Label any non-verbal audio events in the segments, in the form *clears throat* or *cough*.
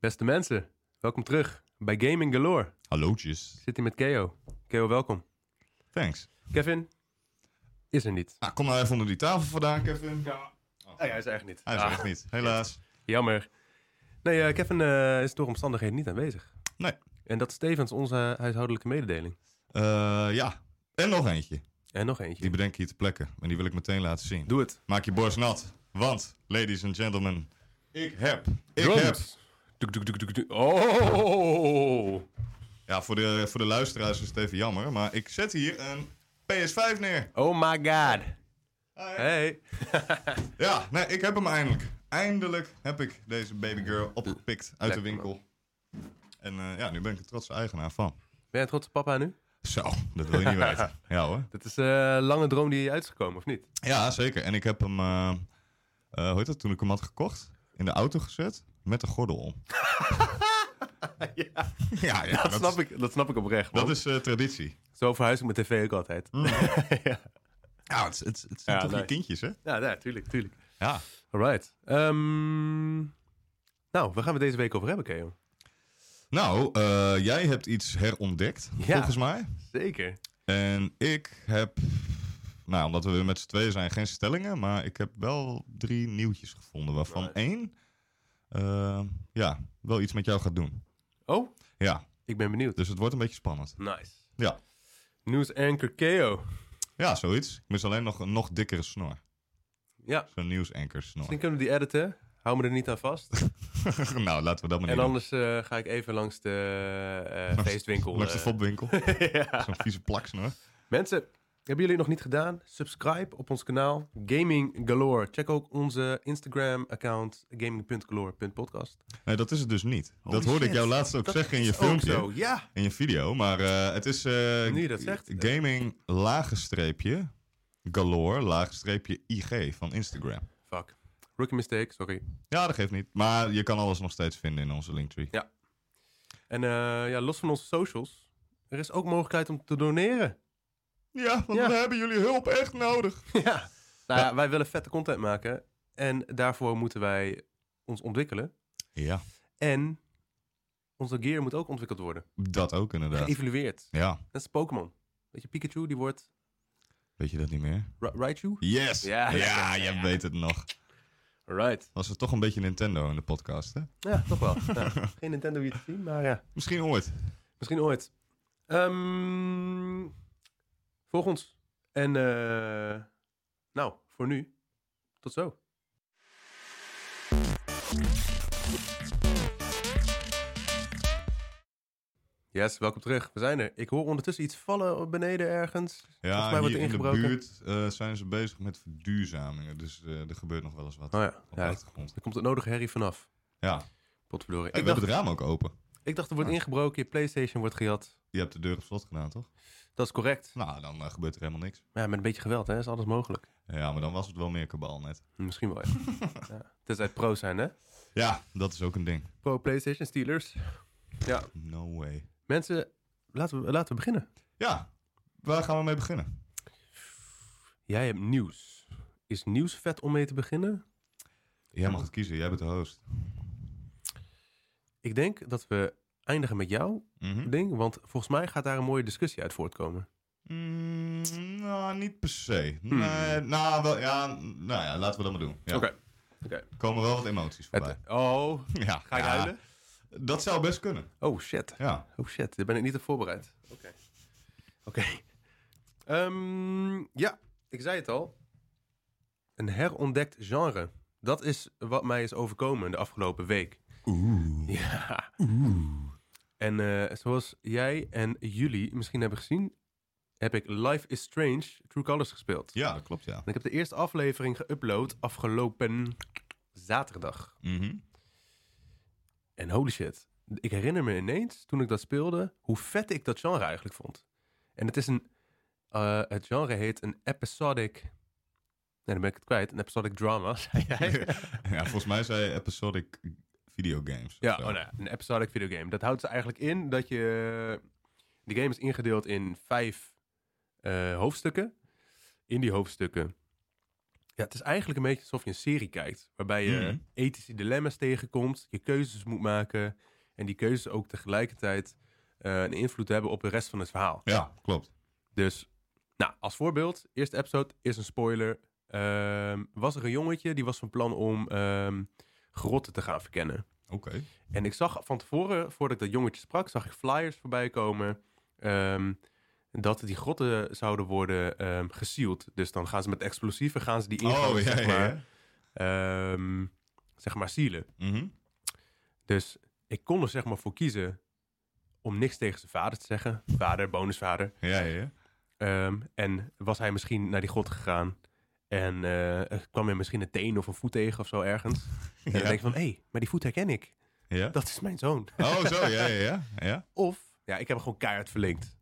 Beste mensen, welkom terug bij Gaming Galore. Hallootjes. Ik zit hier met Keo. Keo, welkom. Thanks. Kevin is er niet. Ah, kom nou even onder die tafel vandaan, Kevin. Oh, ja, hij is er echt niet. Hij is er echt niet, helaas. Jammer. Nee, eh, Kevin eh, is door omstandigheden niet aanwezig. Nee. En dat is tevens onze huishoudelijke mededeling. Eh, ja, en nog eentje. En nog eentje. Die bedenk ik hier te plekken. En die wil ik meteen laten zien. Doe het. Maak je borst nat. Want, ladies and gentlemen, ik heb... Ik heb... Drums. Doek, doek, doek, doek, doek. Oh! Ja, voor de, voor de luisteraars is het even jammer. Maar ik zet hier een PS5 neer. Oh my god. Hi. Hey. Ja, nee, ik heb hem eindelijk. Eindelijk heb ik deze baby girl opgepikt uit de Lekker, winkel. En eh, ja, nu ben ik een trotse eigenaar van. Ben je trots op papa nu? Zo, dat wil je *laughs* niet weten. Ja hoor. Dat is een lange droom die je uit is gekomen, of niet? Ja, zeker. En ik heb hem, eh, eh, hoe heet dat, toen ik hem had gekocht, in de auto gezet met een gordel om. *laughs* Ja, ja, ja, dat, snap is, ik, dat snap ik oprecht. man. Mm. Dat is eh, traditie. Zo verhuis ik mijn tv ook altijd. *laughs* ja, Ja, het, het, het zijn Ja, toch leuk. je kindjes, hè? ja, ja, tuurlijk, tuurlijk. Ja. Alright. Ehm, nou, waar gaan we deze week over hebben, Keo? Nou, eh, jij hebt iets herontdekt, Ja. volgens mij. Zeker. En ik heb, nou, omdat we weer met z'n tweeën zijn, geen stellingen, maar ik heb wel drie nieuwtjes gevonden, waarvan Nice. één, eh, ja, wel iets met jou gaat doen. Oh, Ja, ik ben benieuwd. dus het wordt een beetje spannend. Nice. Ja. News anchor Keo. Ja, zoiets. Ik mis alleen nog een nog dikkere snor. Ja, Zo'n nieuwsankersnor. misschien kunnen we die editen. Hou me er niet aan vast. *laughs* nou, laten we En dat maar niet doen. anders eh, ga ik even langs de eh feestwinkel. Langs de eh. fopwinkel. *laughs* ja. Zo'n vieze plaksnor. Mensen, hebben jullie het nog niet gedaan? Subscribe op ons kanaal Gaming Galore. Check ook onze Instagram-account gaming.galore.podcast. Nee, dat is het dus niet. dat Holy hoorde ik shit. jou laatst ook Dat zeggen in je is ook filmpje. zo, ja. In je video. Maar eh, het is eh, Nu je dat zegt. eh. gaming laagstreepje galore laagstreepje IG van Instagram. Fuck. Rookie mistake, sorry. Ja, dat geeft niet. Maar je kan alles nog steeds vinden in onze linktree. Ja. En eh, ja, los van onze socials, er is ook mogelijkheid om te doneren. Ja, want Ja. we hebben jullie hulp echt nodig. *laughs* ja. Nou ja, wij willen vette content maken. En daarvoor moeten wij ons ontwikkelen. Ja, En onze gear moet ook ontwikkeld worden. dat ook inderdaad. Geëvalueerd. Ja, Net als Pokémon. Weet je, Pikachu, die wordt weet je dat niet meer? Ra- Raichu. Yes! Ja, Ja, ja, jij weet het nog. Right. Was er toch een beetje Nintendo in de podcast, hè? Ja, toch *laughs* wel. Ja, geen Nintendo hier te zien, maar ja. Misschien ooit. Misschien ooit. Ehm volg ons. En eh, nou, voor nu. Tot zo. Yes, welkom terug. We zijn er. Ik hoor ondertussen iets vallen beneden ergens. Volgens Ja, mij wordt hier er in de ingebroken. buurt eh, zijn ze bezig met verduurzamingen. Dus eh, er gebeurt nog wel eens wat Oh ja, op de ja achtergrond. daar komt het nodige herrie vanaf. Ja, Hey, Potverdorie. we Ik dacht, hebben het raam ook open. ik dacht er wordt ingebroken, je Playstation wordt gejat. Je hebt de deur op slot gedaan, toch? Dat is correct. Nou, dan eh, gebeurt er helemaal niks. Maar ja, met een beetje geweld hè, is alles mogelijk. Ja, maar dan was het wel meer kabaal net. Misschien *laughs* wel, ja. ja. Tenzij het pro zijn, hè? Ja, dat is ook een ding. Pro PlayStation Steelers. Ja. No way. Mensen, laten we, laten we beginnen. Ja, waar gaan we mee beginnen? Jij hebt nieuws. Is nieuws vet om mee te beginnen? Jij mag het kiezen, jij bent de host. Ik denk dat we eindigen met jouw Mhm. ding, want volgens mij gaat daar een mooie discussie uit voortkomen. Mm, nou, niet per se. Nee, nou, wel, ja, nou ja, laten we dat maar doen. Ja. Hmm. Oké. Er komen wel wat emoties Het- voorbij. *laughs* Oh, Ja, ga ik ja, huilen? Dat zou best kunnen, Oh shit. ja. Oh shit, daar ben ik niet op voorbereid. Oké. Oké. Ehm, ja, ik zei het al. Een herontdekt genre. Dat is wat mij is overkomen de afgelopen week. Oeh. Ja. En eh, zoals jij en jullie misschien hebben gezien, heb ik Life is Strange True Colors gespeeld. Ja, dat klopt, ja. En ik heb de eerste aflevering geüpload afgelopen zaterdag. Mhm. *laughs* En holy shit, ik herinner me ineens toen ik dat speelde, hoe vet ik dat genre eigenlijk vond. En het is een, eh, het genre heet een episodic, nee dan ben ik het kwijt, een episodic drama, zei *laughs* jij. ja, volgens mij zei je episodic videogames. Ja, Zo. oh, nou ja, een episodic videogame. Dat houdt ze eigenlijk in dat je... eh, De game is ingedeeld in vijf eh, hoofdstukken. In die hoofdstukken Ja, het is eigenlijk een beetje alsof je een serie kijkt. Waarbij je Mhm. ethische dilemma's tegenkomt. Je keuzes moet maken. En die keuzes ook tegelijkertijd eh, een invloed hebben op de rest van het verhaal. Ja, klopt. Dus, nou, als voorbeeld, eerste episode is een spoiler. Ehm, was er een jongetje die was van plan om ehm, grotten te gaan verkennen. Oké. En ik zag van tevoren, voordat ik dat jongetje sprak, zag ik flyers voorbij komen. ehm, dat die grotten zouden worden ehm gesield. Dus dan gaan ze met explosieven gaan ze die ingang, Oh, ja, zeg, maar, ja. ehm, zeg maar, sealen. Mhm. Dus ik kon er zeg maar voor kiezen om niks tegen zijn vader te zeggen. Vader, bonusvader. Ja, ja, ja. Ehm, en was hij misschien naar die grot gegaan en eh, er kwam hij misschien een teen of een voet tegen of zo ergens. En dan Ja. denk je van, hé, hey, maar die voet herken ik. Ja. Dat is mijn zoon. Oh, zo, ja, ja, ja. ja. Of, ja, ik heb hem gewoon keihard verlinkt.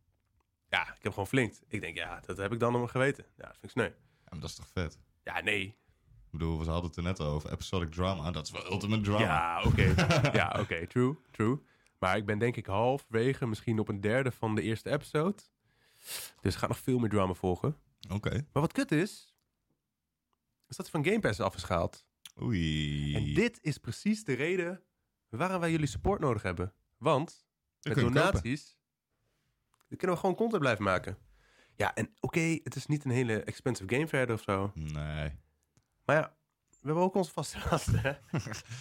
Ja, ik heb hem gewoon verlinkt. Ik denk, ja, dat heb ik dan om hem geweten. Ja, dat vind ik sneu. Ja, maar dat is toch vet? Ja, nee. Ik bedoel, we hadden het er net over. Episodic drama, dat is wel ultimate drama. Ja, *laughs* oké. *laughs* ja, oké, true, true. Maar ik ben denk ik halfwege, misschien op een derde van de eerste episode. Dus er gaat nog veel meer drama volgen. Oké. Maar wat kut is, is dat hij van Game Pass is afgeschaald. Oei. En dit is precies de reden waarom wij jullie support nodig hebben. Want Je met kunt het kopen. donaties dan kunnen we gewoon content blijven maken. Ja, en oké, het is niet een hele expensive game verder of zo. Nee. Maar ja, we hebben ook onze vaste *laughs* lasten. hè?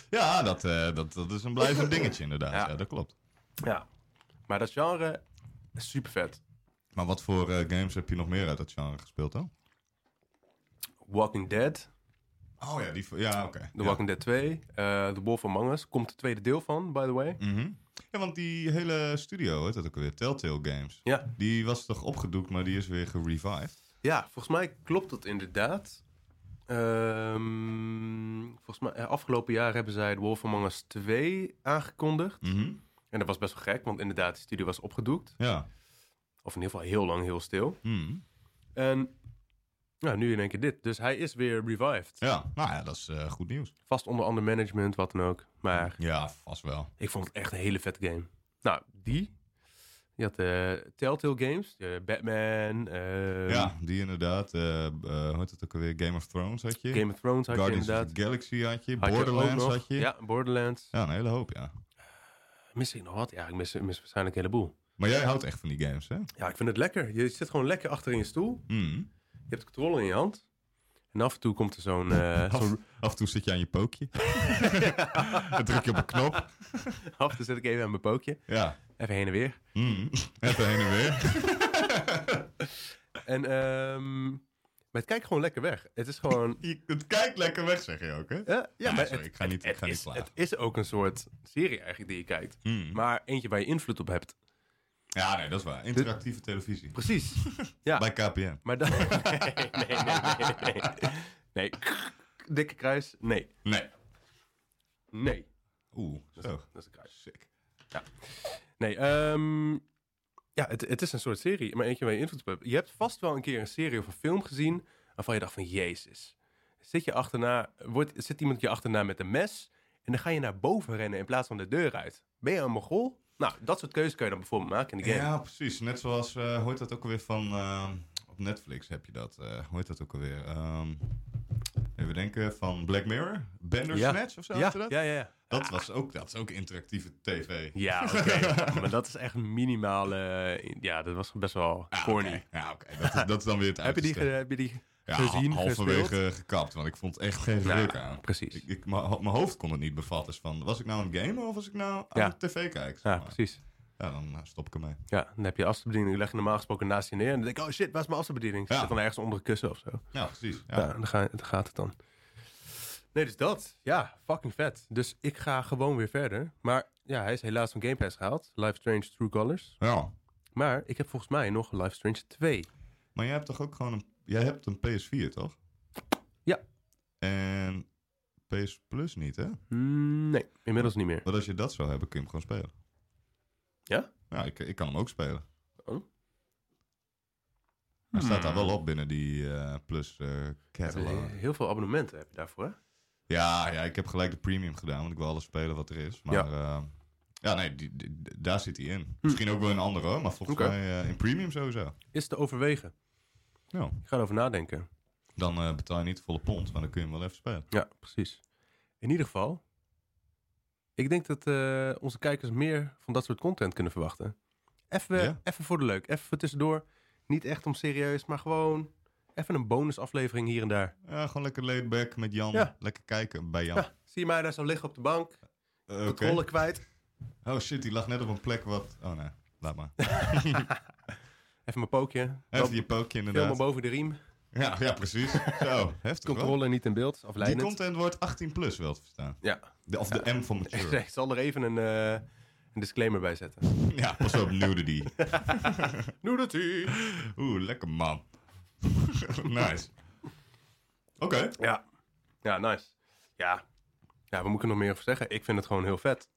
Ja, dat, eh, dat, dat is een blijvend dingetje inderdaad. Ja. Ja. dat klopt. Ja. Maar dat genre is super vet. Maar wat voor eh, games heb je nog meer uit dat genre gespeeld dan? Walking Dead, Oh ja, die... Ja, oké. The Ja. Walking Dead 2, eh The Wolf Among Us. Komt het tweede deel van, by the way. Mhm. Ja, want die hele studio, heet dat ook weer, Telltale Games. Ja. Die was toch opgedoekt, maar die is weer gerevived. Ja, volgens mij klopt dat inderdaad. Ehm, volgens mij, eh, afgelopen jaar hebben zij The Wolf Among Us 2 aangekondigd. Mhm. En dat was best wel gek, want inderdaad, de studio was opgedoekt. Ja. Of in ieder geval heel lang heel stil. Mhm. En nou, nu in één keer dit. Dus hij is weer revived. Ja, nou ja, dat is eh, goed nieuws. Vast onder ander management, wat dan ook. Maar Ja, vast wel. ik vond het echt een hele vette game. Nou, die. Je had eh, Telltale Games, eh, Batman, ehm, ja, die inderdaad. eh eh, hoe heet het ook alweer? Game of Thrones had je. Game of Thrones had Guardians je of inderdaad. the Galaxy had je. Had je ook Borderlands nog. had je. Ja. Ja, Borderlands. een hele hoop, ja. Mis ik nog wat? Ja, ik mis, mis waarschijnlijk een heleboel. Maar jij houdt echt van die games, hè? Ja, ik vind het lekker. Je zit gewoon lekker achter in je stoel. Mm. Je hebt de controle in je hand. En af en toe komt er zo'n... eh, *laughs* Af, zo'n- af en toe zit je aan je pookje. *laughs* Dan druk je op een knop. *laughs* af en toe zet ik even aan mijn pookje. Ja. Even heen en weer. Mm. Even heen en weer. En, ehm, maar het kijkt gewoon lekker weg. Het is *laughs* gewoon... *laughs* Je, het kijkt lekker weg, zeg je ook, hè? Ja, ja, maar Ah, sorry, het, ik ga niet, ik het ga niet is, klagen. het is ook een soort serie eigenlijk die je kijkt. Mm. Maar eentje waar je invloed op hebt. Ja, nee, dat is waar. Interactieve televisie. *laughs* Precies. Ja. Bij KPN. Maar dan... *laughs* Nee, nee, nee, nee, nee. Nee. Dikke kruis. Nee. Nee. Nee. Oeh, Dat is, zo. dat is een kruis. Sick. Nee, ehm, ja, het, het is een soort serie, maar eentje waar je invloed op hebt. Je hebt vast wel een keer een serie of een film gezien waarvan je dacht van, jezus. Zit, je achterna, wordt, zit iemand je achterna met een mes en dan ga je naar boven rennen in plaats van de deur uit. Ben je een mogol? Nou, dat soort keuzes kun je dan bijvoorbeeld maken in de game. Ja, precies. Net zoals, eh hoe heet dat ook alweer van... ehm, op Netflix heb je dat. eh hoe heet dat ook alweer? Ehm even denken van Black Mirror? Bandersnatch of zo? heette dat? ja, ja. ja. Dat, was ook, dat is ook interactieve tv. Ja, oké. maar dat is echt minimaal. eh, ja, dat was best wel Ah, corny. oké. Ja, oké. Dat, is- dat is dan weer het *laughs* Heb je die, ge- uiterste. heb je die ja, gezien, ha- halverwege gekapt, want ik vond echt geen Nou, druk aan. Precies. Ik, ik, mijn ho- mijn hoofd kon het niet bevatten. Dus van, was ik nou aan het gamen of was ik nou aan Ja. de tv kijken? zeg Ja, maar. precies. ja, dan eh, stop ik ermee. Ja, dan heb je afstandsbediening. Die leg je normaal gesproken naast je neer. En dan denk ik, oh shit, waar is mijn afstandsbediening? Ja. Zit dan ergens onder een kussen of zo. Ja, precies. Ja, dan, ga, dan gaat het dan. Nee, dus dat. Ja, fucking vet. Dus ik ga gewoon weer verder. Maar ja, hij is helaas van Game Pass gehaald. Life Strange True Colors. ja. Maar ik heb volgens mij nog Life Strange 2. Maar jij hebt toch ook gewoon een... Jij hebt een PS4, toch? Ja. En PS Plus niet, hè? Mm, nee, inmiddels niet meer. Want als je dat zou hebben, kun je hem gewoon spelen. Ja? Ja, ik, ik kan hem ook spelen. Oh. Hmm. Hij staat daar wel op binnen die eh, Plus eh Heb je catalog. Heel veel abonnementen heb je daarvoor, hè? Ja, ja, ik heb gelijk de premium gedaan, want ik wil alles spelen wat er is. Maar Ja. Hm. ja, ja nee, die, die- daar zit hij in. Misschien ook wel in andere, hoor, maar volgens Oké. mij eh, in premium sowieso. Is te overwegen. Ja. Ik ga erover nadenken. Dan eh, betaal je niet de volle pond, maar dan kun je hem wel even spelen. Ja, precies. In ieder geval, ik denk dat eh, onze kijkers meer van dat soort content kunnen verwachten. Even, Ja. even voor de leuk, even voor tussendoor. Niet echt om serieus, maar gewoon even een bonusaflevering hier en daar. Ja, gewoon lekker laid back met Jan. Ja. Lekker kijken bij Jan. Ja. zie je mij daar zo liggen op de bank, Eh, de oké. rollen kwijt. Oh shit, die lag net op een plek wat... Oh nee, laat maar. Even mijn pookje. Even Loop die pookje Helemaal inderdaad. boven de riem. Ja, ja, *laughs* precies. Zo, heftig hoor. Controle niet in beeld, Die afleidend. content wordt 18 plus wel te verstaan. Ja. De, of de M voor *laughs* mature. Ik zal er even een, eh, een disclaimer bij zetten. ja, pas op, nudity. Nudity! Oeh, lekker man. *laughs* nice. Oké. Ja. Ja, nice. Ja. Ja, we moeten er nog meer over zeggen. Ik vind het gewoon heel vet.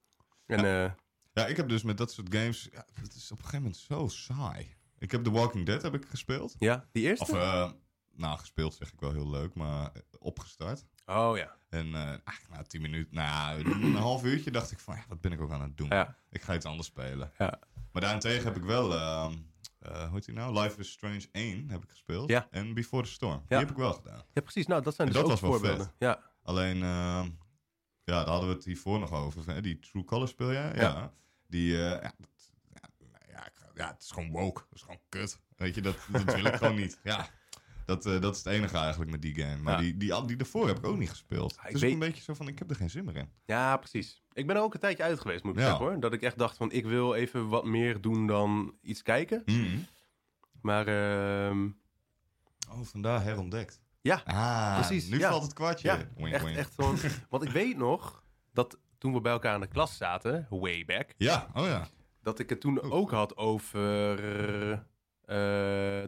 En eh, Ja, ik heb dus met dat soort games... Ja, het is op een gegeven moment zo saai. Ik heb The Walking Dead heb ik gespeeld. ja, die eerste? Of, eh, nou, gespeeld zeg ik wel heel leuk, maar eh, opgestart. Oh ja. En eh, eigenlijk na tien minuten, nou, *clears throat* een half uurtje dacht ik van, ja, wat ben ik ook aan het doen? Ja. Ik ga iets anders spelen. Ja. Maar daarentegen heb ik wel, ehm eh, hoe heet die nou? Life is Strange 1 heb ik gespeeld. Ja. En Before the Storm. Die Ja. heb ik wel gedaan. Ja, precies. Nou, dat zijn En dus dat ook was wel voorbeelden. vet. Ja. Alleen, ehm, ja, daar hadden we het hiervoor nog over. Van, hè, die True Color speel jij? Ja. Ja. Die, eh, ja, dat- ja, nou ja, ik ga- ja, het is gewoon woke. Het is gewoon kut. Weet je, dat, dat wil ik gewoon niet. Ja. Dat, eh, dat is het enige eigenlijk met die game. Maar Ja. die, die, die daarvoor heb ik ook niet gespeeld. ik het is weet- ook een beetje zo van, ik heb er geen zin meer in. ja, precies. Ik ben er ook een tijdje uit geweest, moet ik Ja. zeggen hoor. Dat ik echt dacht van, ik wil even wat meer doen dan iets kijken. Maar ehm, Oh, vandaar herontdekt. Ja, Ah, precies, Nu ja. valt het kwartje. ja, Wink, echt, wink. echt *laughs* gewoon... Want ik weet nog dat toen we bij elkaar in de klas zaten, way back... Ja, oh ja. dat ik het toen Oh. ook had over eh,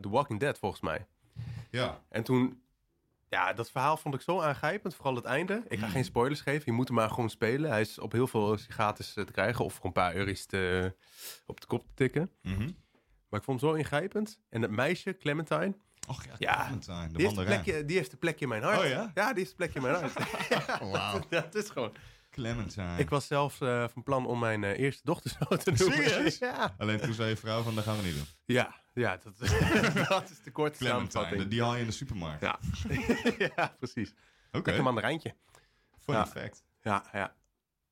The Walking Dead, volgens mij. Ja, En toen, ja, dat verhaal vond ik zo aangrijpend, vooral het einde. Ik ga Mm. geen spoilers geven, je moet hem maar gewoon spelen. Hij is op heel veel gratis eh, te krijgen of voor een paar euro's te, op de kop te tikken. Mhm. Maar ik vond hem zo ingrijpend. En dat meisje, Clementine, Och ja, Ja. Clementine, de die heeft, een mandarijn. plekje, die heeft een plekje in mijn hart. Oh ja? Oh. Ja, die heeft een plekje in mijn hart. *laughs* Wauw. ja, het is gewoon... Clementine. Ik was zelfs eh, van plan om mijn eh, eerste dochter zo te noemen. *laughs* Serieus? Ja. Alleen toen zei je vrouw van, dat gaan we niet doen. Ja, ja dat, *laughs* dat is de korte Clementine, samenvatting. die haal je in de supermarkt. Ja. *laughs* ja, precies. Oké, Lekker mandarijntje. fun Ja. fact. Ja, ja.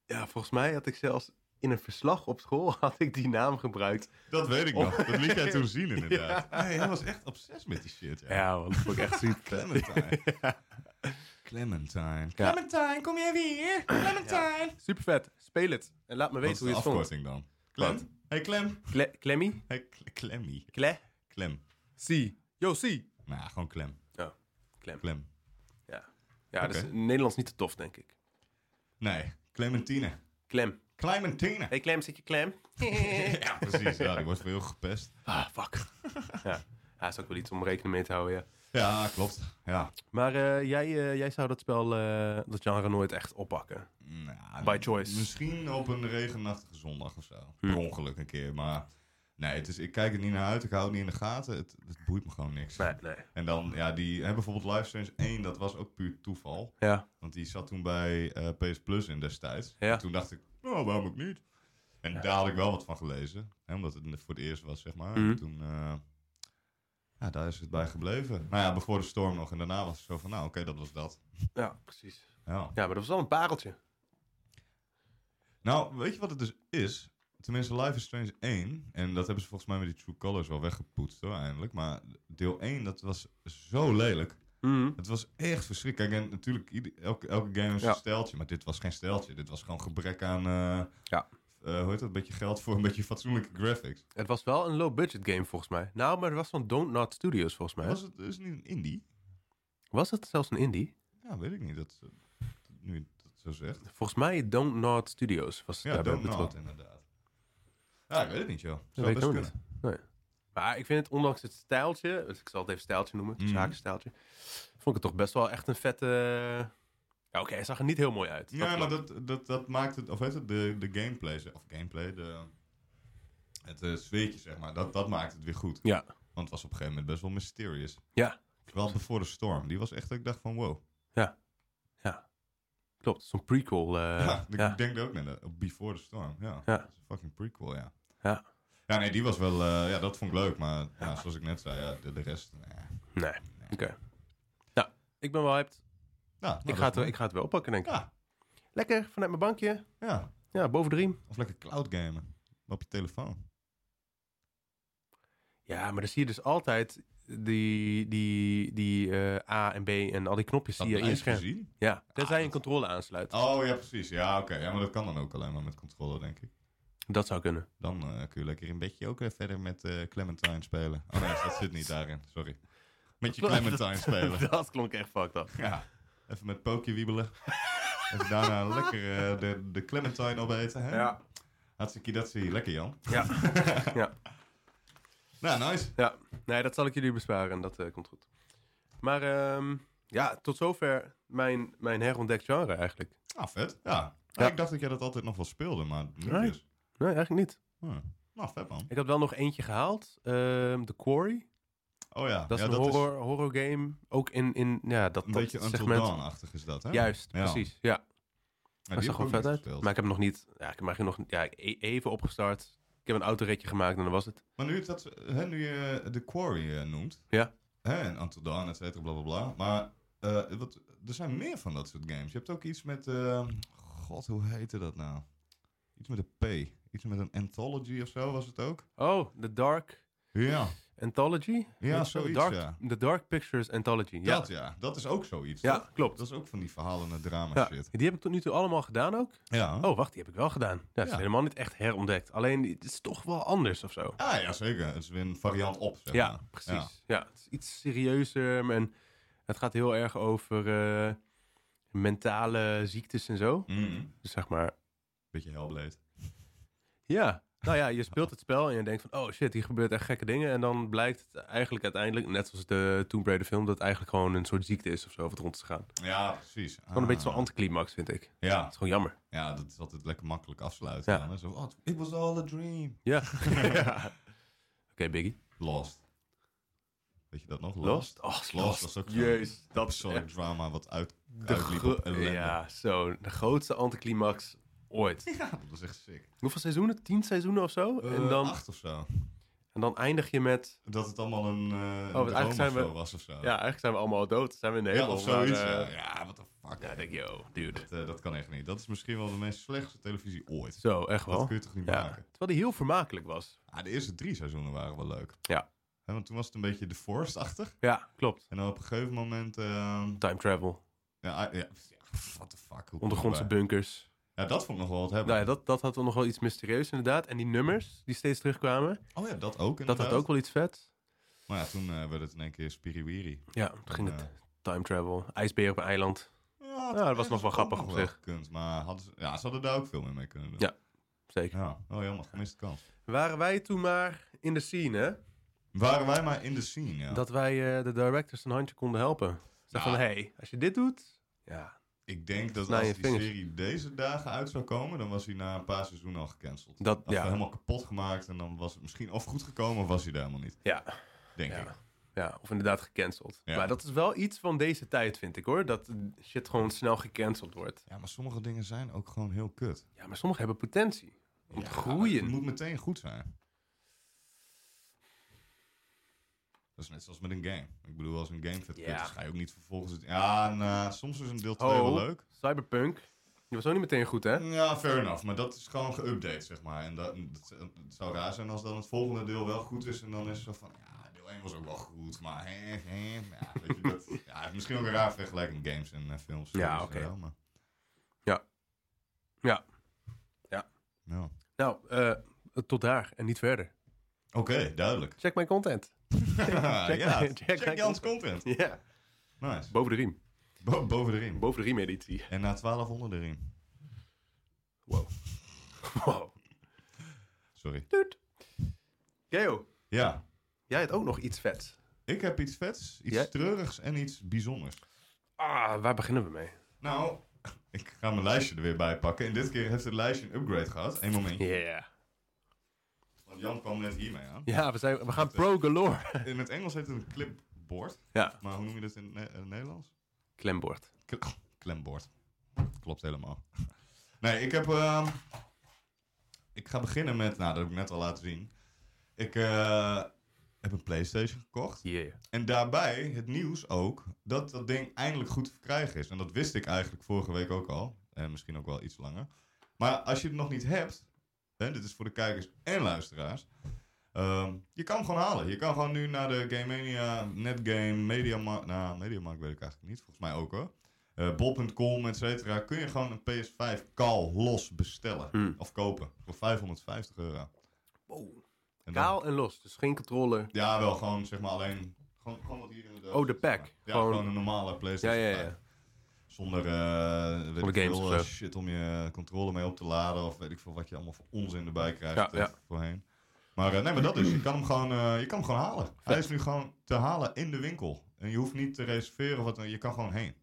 Ja, volgens mij had ik zelfs in een verslag op school *laughs* had ik die naam gebruikt. Dat weet ik nog. Dat liet jij toen *laughs* zien inderdaad. Oh. Ja. Hey, hij was echt obsessief met die shit. Ja. want dat vond ik echt ziek. *laughs* Clementine. Clementine. Ja. Clementine, kom jij weer? Clementine. Super vet. Speel het. En laat me Wat weten hoe is de je het vond. afkorting dan? Clem. Hey Clem. Kle Clemmy? Hey Cle- Clemmy. Cle? Clem. Si. Yo, si. Nou, gewoon Clem. Oh, Clem. Clem. Ja, ja dat is Oké. in het Nederlands niet te tof, denk ik. Nee, Clementine. Clem. *laughs* Clementine. Hey Clem, zit je Clem? Ja, precies. Ja, die wordt veel gepest. ah, *laughs* fuck. ja. ja, is ook wel iets om rekening mee te houden, ja. Ja, klopt. Ja. Maar eh, jij, eh, jij zou dat spel, eh, dat genre nooit echt oppakken. Nou, By choice. Misschien op een regenachtige zondag of zo. Per Hmm. ongeluk een keer. Maar nee, het is, ik kijk er niet naar uit. Ik hou het niet in de gaten. Het, het boeit me gewoon niks. Nee, nee. En dan, ja, die hè, bijvoorbeeld Live Strange 1, dat was ook puur toeval. Ja, Want die zat toen bij eh, PS Plus in destijds. Ja. En toen dacht ik, nou, waarom ook niet? En daar had ik wel wat van gelezen. Hè, omdat het voor het eerst was, zeg maar. Mhm. En toen, eh, ja, daar is het bij gebleven. Nou ja, Before de Storm nog. En daarna was het zo van, nou, oké, dat was dat. ja, precies. Ja. Ja, maar dat was wel een pareltje. Nou, weet je wat het dus is? Tenminste, Life is Strange 1. En dat hebben ze volgens mij met die True Colors wel weggepoetst, hoor, eindelijk. Maar deel 1, dat was zo lelijk. Mhm. Het was echt verschrikkelijk. Kijk, en natuurlijk, ieder- elke, elke game heeft Ja. een steltje. Maar dit was geen steltje. Dit was gewoon gebrek aan... eh, Ja. eh, hoe heet dat? Een beetje geld voor een beetje fatsoenlijke graphics. Het was wel een low-budget game volgens mij. Nou, maar er was van Don't Not Studios volgens mij. Was het dus niet een indie? Was het zelfs een indie? Ja, weet ik niet. Dat, eh, nu je dat zo zegt. Volgens mij Don't Not Studios was het Ja, daarbij Don't Not, betrokken. inderdaad. Ja, ik weet het niet, joh. weet Zou ik best ook kunnen. Maar ik vind het, ondanks het stijltje, dus ik zal het even stijltje noemen, het Mhm. zakenstijltje, vond ik het toch best wel echt een vette... Ja, oké, hij zag er niet heel mooi uit. Ja, maar dat, dat, dat maakt het, of weet het, de, de gameplay, zeg- of gameplay, de, het eh, sfeertje, zeg maar, dat, dat maakt het weer goed. Ja. Want het was op een gegeven moment best wel mysterious. Ja. Terwijl Before the Storm, die was echt, dat ik dacht van wow. Klopt, zo'n prequel. eh, ja, ik ja. denk er ook net aan, Before the Storm, ja. Ja. Dat is een fucking prequel, ja. Ja. Ja, nee, die was wel, eh, ja, dat vond ik leuk, maar ja, zoals ik net zei, ja, de, de rest, nee. Nee, oké. Nou, Ik ben wel hyped. Ja, nou, ik, dat ga het, is wel- ik ga het wel oppakken, denk ik. Ja, Lekker, vanuit mijn bankje. ja. Ja, boven de riem. Of lekker cloud gamen. Op je telefoon. Ja, maar dan zie je dus altijd die, die, die eh, A en B en al die knopjes die je in je blijft scherm. gezien. Ja, tenzij je een dat- controle aansluit. Oh ja, precies. Ja, oké. Ja, maar dat kan dan ook alleen maar met controle, denk ik. Dat zou kunnen. Dan eh, kun je lekker in bedje ook weer verder met eh, Clementine spelen. Oh nee, dat zit niet daarin. Sorry. Met je Clementine *laughs* spelen. *laughs* dat klonk echt fucked up. Ja, even met pookje wiebelen. Even daarna lekker eh, de, de Clementine opeten. Hè? Ja. Hartstikke dat zie je. Lekker, Jan. Ja. Ja. Nou, nice. Nee, dat zal ik jullie besparen. Dat eh, komt goed. Maar ehm, ja, tot zover mijn, mijn herontdekt genre eigenlijk. Ah, vet. Ja. Ja. Ah, Ik dacht dat jij dat altijd nog wel speelde, maar nu Nee. dus. Nee, eigenlijk niet. Hm. Nou, vet man. Ik had wel nog eentje gehaald. ehm The Quarry. Oh ja, Dat is ja, een horror, horror game. Ook in, in ja, dat, een dat beetje Until segment. Dawn-achtig is dat, hè? Juist, Ja. precies. Ja, Ja, dat die zag er heb vet ik ook uit. niet gespeeld. Maar ik heb hem nog niet... Ja, ik heb hem nog niet... Ja, ik e- even opgestart. Ik heb een autoritje gemaakt en dan was het. Maar nu, dat, hè, nu je eh, de Quarry eh, noemt. Ja. Hè, en Until Dawn, et cetera, bla bla bla. Maar eh, wat, er zijn meer van dat soort games. Je hebt ook iets met. eh, God, hoe heette dat nou? Iets met een P. Iets met een anthology of zo was het ook. Oh, The Dark Ja, Anthology? ja Heet zo? zoiets. Dark, ja. The Dark Pictures Anthology. Ja, Dat ja, dat is ook zoiets. ja toch? klopt. Dat is ook van die verhalen en drama Ja, Oh, shit. die heb ik tot nu toe allemaal gedaan ook. Ja. Oh, wacht, die heb ik wel gedaan. Ja, het is Ja. helemaal niet echt herontdekt. Alleen, het is toch wel anders of zo. Ah, ja, zeker. Het is weer een variant op. Zeg Ja, maar. precies. Ja. het is iets serieuzer en het gaat heel erg over eh, mentale ziektes en zo. Mhm. Dus zeg maar, Beetje Hellblade. ja. Nou ja, je speelt het spel en je denkt van, oh shit, hier gebeurt echt gekke dingen. En dan blijkt het eigenlijk uiteindelijk, net zoals de Tomb Raider film, dat het eigenlijk gewoon een soort ziekte is of zo, wat rond is gegaan. Het Ja, precies. Ah. is gewoon een beetje zo'n anticlimax, vind ik. Het Ja, is gewoon jammer. ja, dat is altijd lekker makkelijk afsluiten. Ja. dan, hè. Zo, oh, it was all a dream. *laughs* Ja. Ja. Oké, Biggie. Lost. Weet je dat nog? Lost? Lost. Oh, Lost Lost. was ook zo'n Jeus, dat is Absoluut echt drama wat uit, de, uitliep op gro- ellende. ja, zo, de grootste anticlimax ooit. Dat is echt sick. Hoeveel seizoenen? Tien seizoenen of zo? en, Eh, dan, Acht of zo. en dan eindig je met... Dat het allemaal een eh oh, want eigenlijk zijn we- was of zo. Ja, eigenlijk zijn we allemaal dood. Zijn we in de Ja, hemel. of zoiets. maar, ja. eh, ja, what the fuck. ja, denk je, oh, dude. dat, eh, dat kan echt niet. Dat is misschien wel de meest slechtste televisie ooit. Zo, echt Dat wel. kun je toch niet Ja. maken? Terwijl die heel vermakelijk was. Ah, de eerste drie seizoenen waren wel leuk. Ja. Hè, want toen was het een beetje de Forest-achtig. Ja, klopt. En dan op een gegeven moment... ehm, Time travel, ja, ah, ja, what the fuck. hoe kom je ondergrondse erbij? bunkers. Ja, dat vond ik nog wel wat hebben. Nou ja, dat, dat had wel nog wel iets mysterieus inderdaad. En die nummers die steeds terugkwamen, Oh ja, dat ook dat had inderdaad. ook wel iets vet. Maar ja, toen eh, werd het in één keer spiriwiri. Ja, toen ging het Ja. time travel, ijsbeer op een eiland. Ja, dat was nog wel grappig op zich. Gekund, maar hadden ze, ja, ze hadden daar ook veel meer mee kunnen doen. Ja. Zeker. Ja, oh jammer, gemiste kans. Waren wij toen maar in de scene, hè? Waren wij maar in de scene, ja. Dat wij eh, de directors een handje konden helpen. Zeg Ja. van, hé, hey, als je dit doet... Ja, Ik denk dat Snij als je die vingers. serie deze dagen uit zou komen, dan was hij na een paar seizoenen al gecanceld. dat, Had we ja, helemaal kapot gemaakt en dan was het misschien of goed gekomen of was hij daar helemaal niet. ja, Denk Ja. ik. ja, of inderdaad gecanceld. Ja. Maar dat is wel iets van deze tijd, vind ik hoor. Dat shit gewoon snel gecanceld wordt. Ja, maar sommige dingen zijn ook gewoon heel kut. Ja, maar sommigen hebben potentie om Ja, te groeien. Het moet meteen goed zijn. Dat is net zoals met een game. Ik bedoel, als een game vet Ja. kut is, ga je ook niet vervolgens... Het... Ja, nou, soms is een deel 2 Oh. wel leuk. Cyberpunk, die was ook niet meteen goed, hè? Ja, fair enough. Maar dat is gewoon geüpdate, zeg maar. En dat, dat- het zou raar zijn als dan het volgende deel wel goed is. En dan is het zo van, ja, deel 1 was ook wel goed. Maar hè, hè. Ja, weet je, dat, ja, het is misschien ook een raar vergelijking games en eh, films. Ja, Weet je oké. wel, maar- Ja. Ja. Ja. Ja. Nou, eh, tot daar en niet verder. Oké, duidelijk. Check mijn content. *laughs* ja, mijn- check check mijn Jans content. Ja, Nice. boven de riem. Bo- boven de riem. Boven de riem editie. En na 12 onder de riem. Wow. *laughs* wow. Sorry. Doet. Geo, Ja, jij had ook nog iets vets. ik heb iets vets, iets Ja? treurigs en iets bijzonders. Ah, waar beginnen we mee? Nou, ik ga mijn lijstje er weer bij pakken. En dit keer heeft het lijstje een upgrade gehad. Eén momentje. Yeah. Want Jan kwam net hiermee aan. Ja, we, zijn, we gaan pro galore. In het Engels heet het een clipboard. Ja, Maar hoe noem je dat in het Ne- eh, Nederlands? klembord. Cl- Klembord. Klopt helemaal. Nee, ik heb... ehm, ik ga beginnen met... Nou, dat heb ik net al laten zien. Ik eh, heb een PlayStation gekocht. Yeah. En daarbij het nieuws ook dat dat ding eindelijk goed te verkrijgen is. En dat wist ik eigenlijk vorige week ook al. En misschien ook wel iets langer. Maar als je het nog niet hebt, hè, dit is voor de kijkers en luisteraars. ehm, je kan hem gewoon halen. Je kan gewoon nu naar de Game Mania, Netgame, Mediamarkt. Nou, Mediamarkt weet ik eigenlijk niet. Volgens mij ook hoor. Eh, Bol.com, et cetera. Kun je gewoon een PS5 kaal los bestellen. Hmm. Of kopen. Voor 550 euro. En Oh, dan- Kaal en los, dus geen controle. Ja, wel gewoon zeg maar alleen. Gewoon, gewoon wat hier in de doos Oh, de zit, zeg pack. maar. Ja, Gewoon- gewoon, een normale Ja, PlayStation. ja, 5. ja. Zonder eh, weet Zonder ik games veel, of eh, zo. shit om je controle mee op te laden. Of weet ik veel wat je allemaal voor onzin erbij krijgt Ja, eh, ja. voorheen. Maar eh, nee, maar dat is. Je kan hem gewoon, eh, je kan hem gewoon halen. Hij is nu gewoon te halen in de winkel. En je hoeft niet te reserveren of wat. dan- Je kan gewoon heen.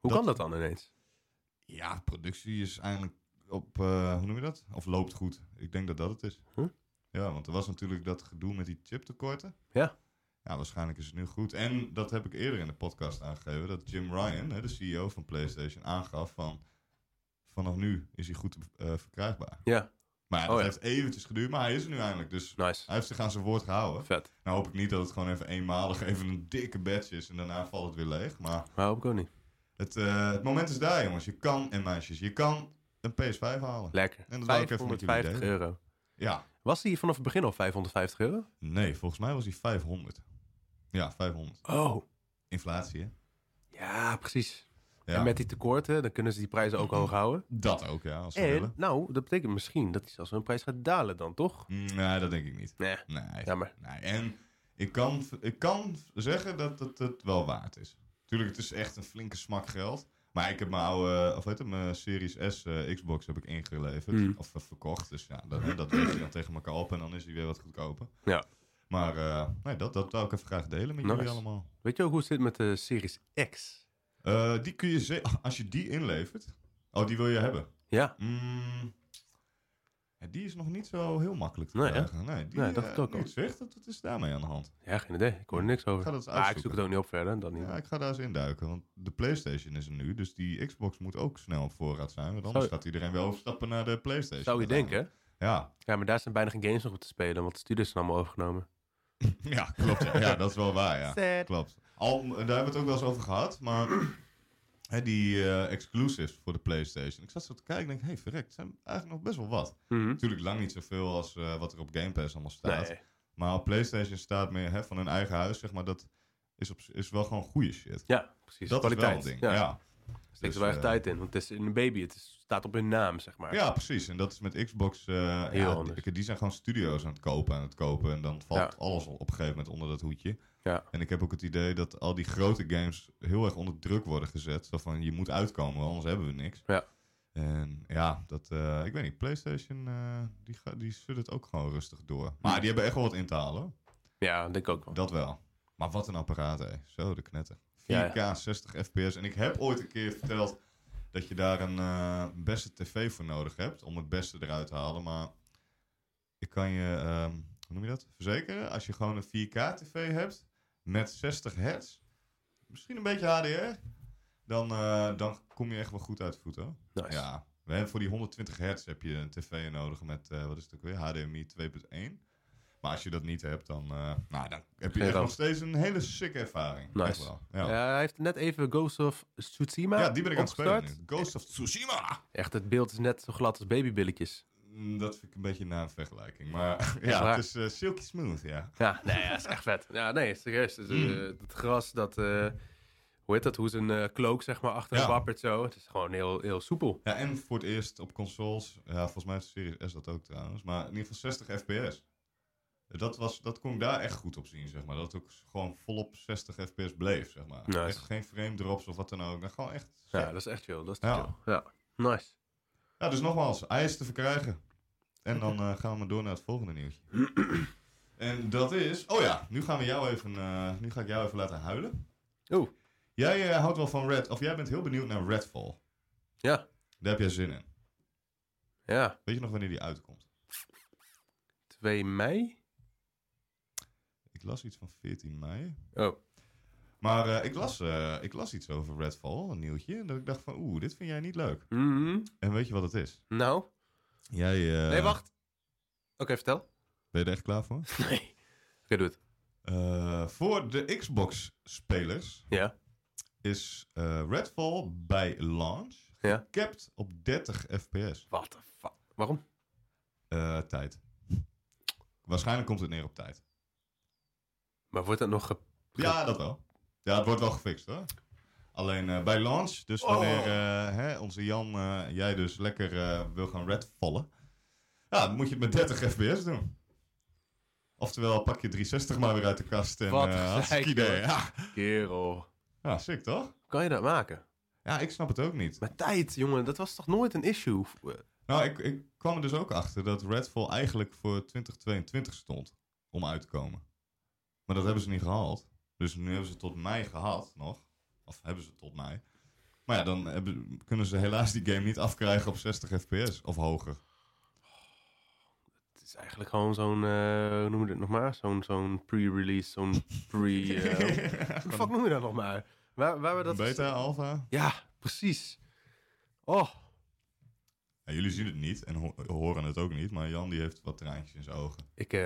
Hoe Dat- kan dat dan ineens? Ja, productie is eigenlijk op, eh, hoe noem je dat? Of loopt goed. Ik denk dat dat het is. Huh? Ja, want er was natuurlijk dat gedoe met die chiptekorten. Ja. Ja, waarschijnlijk is het nu goed. En dat heb ik eerder in de podcast aangegeven, dat Jim Ryan, hè, de CEO van PlayStation, aangaf van vanaf nu is hij goed eh, verkrijgbaar. Ja, Maar ja, Oh dat ja. heeft eventjes geduurd, maar hij is er nu eindelijk. Dus nice. hij heeft zich aan zijn woord gehouden. Vet. Nou hoop ik niet dat het gewoon even eenmalig even een dikke badge is en daarna valt het weer leeg. Maar Maar hoop ik ook niet. het, eh, het moment is daar, jongens. Je kan, en meisjes, je kan een PS5 halen. Lekker. En dat wou ik even met jullie 550 delen. euro. Ja. Was die vanaf het begin al 550 euro? Nee, volgens mij was die 500. Ja, 500. Oh. Inflatie, hè? Ja, precies. Ja, En met die tekorten, dan kunnen ze die prijzen ook hoog houden. dat ook, ja, als ze En, willen. nou, dat betekent misschien dat die zelfs hun prijs gaat dalen dan, toch? Mm, Nee, dat denk ik niet. Nee. Nee. Jammer. nee. Nou, En ik kan, ik kan zeggen dat het het wel waard is. Tuurlijk, het is echt een flinke smak geld. Maar ik heb mijn oude, of weet het, mijn Series S eh, Xbox heb ik ingeleverd. Mm. Of eh, verkocht. Dus ja, dat, hè, dat weet je dan tegen elkaar op en dan is die weer wat goedkoper. Ja. Maar eh, nee, dat, dat wou ik even graag delen met jullie Nice. allemaal. Weet je ook hoe het zit met de Series X? Eh, die kun je ze- als je die inlevert. Oh, die wil je hebben. Ja. Mm. Ja, die is nog niet zo heel makkelijk te Nee, hè? krijgen. Nee, die, Nee, dacht eh, ik ook nu al. het zegt, dat, dat is daarmee aan de hand. Ja, geen idee. Ik hoor er niks over. Ik ga dat eens Maar ik zoek uitzoeken. het ook niet op verder. Dan niet. Ja, ik ga daar eens induiken, want de PlayStation is er nu, dus die Xbox moet ook snel op voorraad zijn, want anders Zou- gaat iedereen weer overstappen naar de PlayStation. Zou je denken, hè? Ja, *laughs* Ja, maar daar zijn bijna geen games nog op te spelen, want de studios zijn allemaal overgenomen. ja klopt. Ja. Ja, dat is wel waar, *laughs* ja. Sad. Klopt. Al, daar hebben we het ook wel eens over gehad, maar *clears throat* hè, die eh, exclusives voor de PlayStation. Ik zat zo te kijken en denk, hé, hey, verrek, het zijn eigenlijk nog best wel wat. Mhm. Natuurlijk lang niet zoveel als eh, wat er op Game Pass allemaal staat. Nee. Maar op PlayStation staat meer hè, van hun eigen huis, zeg maar, dat is, op, is wel gewoon goede shit. Ja, precies. dat is wel Kwaliteit. een ding. Ja. Ja. Ja. Steek Dus, er wel echt eh, tijd in, want het is een baby. Het is- staat op hun naam, zeg maar. precies. En dat is met Xbox. eh, Heel ja, anders. die, die zijn gewoon studio's aan het kopen, aan het kopen. En dan valt Ja. alles op een gegeven moment onder dat hoedje. Ja. En ik heb ook het idee dat al die grote games heel erg onder druk worden gezet. Zo van, je moet uitkomen, anders hebben we niks. Ja. En ja, dat, eh, ik weet niet, PlayStation, eh, die, ga- die zullen het ook gewoon rustig door. Maar die hebben echt wel wat in te halen. hoor. Ja, denk ik ook wel. Dat wel. Maar wat een apparaat, hè. Zo, de knetter. 4K, Ja, 60 fps. En ik heb ooit een keer verteld dat je daar een eh, beste tv voor nodig hebt. Om het beste eruit te halen. Maar ik kan je, ehm, hoe noem je dat? Verzekeren. Als je gewoon een 4K tv hebt met 60 hertz. Misschien een beetje HDR. Dan, eh, dan kom je echt wel goed uit de voeten. hoor. Nice. Ja. We hebben voor die 120 hertz heb je een tv nodig met, eh, wat is het ook weer, HDMI 2.1. Maar als je dat niet hebt, dan, eh, nou, dan heb je Geen echt ramp. nog steeds een hele sick ervaring. Nice. Echt wel. Ja. Ja. Ja, Eh, hij heeft net even Ghost of Tsushima Oh. die ben ik aan het spelen opgestart. nu. Ghost of Tsushima! Echt, het beeld is net zo glad als babybilletjes. Mm, Dat vind ik een beetje na een vergelijking. Maar *laughs* ja, waar. het is eh, silky smooth, ja. Ja, nee, ja, is echt vet. Ja, nee, serieus. Dus, eh, Hmm. het gras, dat... eh, hoe heet dat? Hoe zijn eh, klook, zeg maar, achter Ja. hem wappert zo. Het is gewoon heel, heel soepel. Ja, en voor het eerst op consoles. Ja, volgens mij heeft Series S dat ook trouwens. Maar in ieder geval 60 fps. Dat, was, dat kon ik daar echt goed op zien, zeg maar. Dat het ook gewoon volop 60 fps bleef, zeg maar. Nice. Echt geen frame drops of wat dan ook. Nou, gewoon echt... Ja, Ja. dat is echt chill. Dat is Ja. chill. Ja, nice. dus nogmaals, hij is te verkrijgen. En dan eh, gaan we door naar het volgende nieuwtje. *clears throat* en dat is... Oh ja, nu, gaan we jou even, eh, nu ga ik jou even laten huilen. Oeh. Jij eh, houdt wel van Red... Of jij bent heel benieuwd naar Redfall. Ja. Daar heb jij zin in. Ja, Weet je nog wanneer die uitkomt? 2 mei? Ik las iets van 14 mei. Oh, Maar eh, ik, las, eh, ik las iets over Redfall, een nieuwtje. En dat ik dacht van, oeh, dit vind jij niet leuk. mhm. En weet je wat het is? nou. Jij eh, Nee, wacht. Oké, vertel. *laughs* ben je er echt klaar voor? Nee. Oké, doe het. Eh, voor de Xbox-spelers Ja. is eh, Redfall bij launch Ja. gekapt op 30 fps What the fuck? Waarom? Eh, tijd. Waarschijnlijk komt het neer op tijd. Maar wordt dat nog... ge- Ja, dat wel. Ja, het wordt wel gefixt hoor. Alleen eh, bij launch, dus wanneer eh, hè, onze Jan, eh, jij dus lekker eh, wil gaan redvallen, ja, dan moet je het met 30 fps doen. Oftewel, pak je 360 maar weer uit de kast en Wat eh, hartstikke gezeik, idee. hoor. Ja. Kerel. ja, sick toch? oh? Kan je dat maken? Ja, ik snap het ook niet. Maar tijd, jongen, dat was toch nooit een issue? Eh, Nou, ik, ik kwam er dus ook achter dat Redfall eigenlijk voor 2022 stond om uit te komen. Maar dat hebben ze niet gehaald. Dus nu hebben ze tot mei gehad nog. Of hebben ze tot mei. Maar ja, dan hebben, kunnen ze helaas die game niet afkrijgen op 60 fps of hoger. Het is eigenlijk gewoon zo'n, eh, hoe noem je dit nog maar? Zo'n, zo'n pre-release, *laughs* zo'n pre... *laughs* eh, Hoe de fuck noem je dat nog maar? Waar, waar we dat... Beta, alpha. Ja, precies. Oh, Ja, jullie zien het niet en ho- horen het ook niet. Maar Jan die heeft wat traantjes in zijn ogen. ik eh,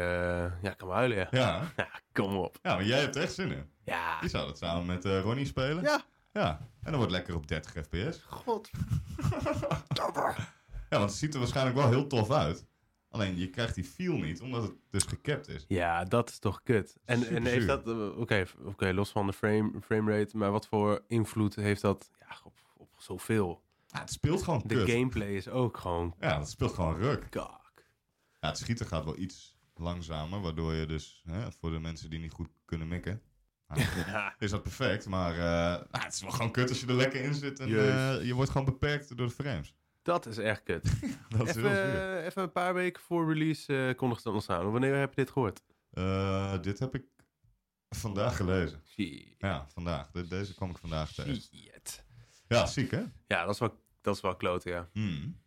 ja, ik kan me huilen, ja. Ja, Ja, kom op. ja maar jij hebt er echt zin in. Ja. Die zou dat samen met eh, Ronnie spelen. Ja. Ja, en dan wordt het lekker op 30 fps. God. Ja, want het ziet er waarschijnlijk wel heel tof uit. Alleen je krijgt die feel niet, omdat het dus gecapt is. Ja, dat is toch kut. En, en Superzuur. heeft dat... eh, Oké, f- oké, los van de frame, frame rate, maar wat voor invloed heeft dat ja, op, op zoveel? Ja, het speelt gewoon De kut. gameplay is ook gewoon... Ja, het speelt gewoon ruk. Kak. *laughs* Ja, het schieten gaat wel iets langzamer, waardoor je dus, hè, voor de mensen die niet goed kunnen mikken, nou, is dat perfect. Maar eh, nou, het is wel gewoon kut als je er lekker in zit en Jezus. eh, je wordt gewoon beperkt door de frames. Dat is echt kut. Dat is heel zuur. Even, eh, even een paar weken voor release eh kondigde dat ons aan. Wanneer heb je dit gehoord? Eh, dit heb ik vandaag gelezen. Shit. Ja, vandaag. De- deze kwam ik vandaag tegen. Shit. Ja, ziek hè? Ja, dat is wel, dat is wel klote, ja. Hmm.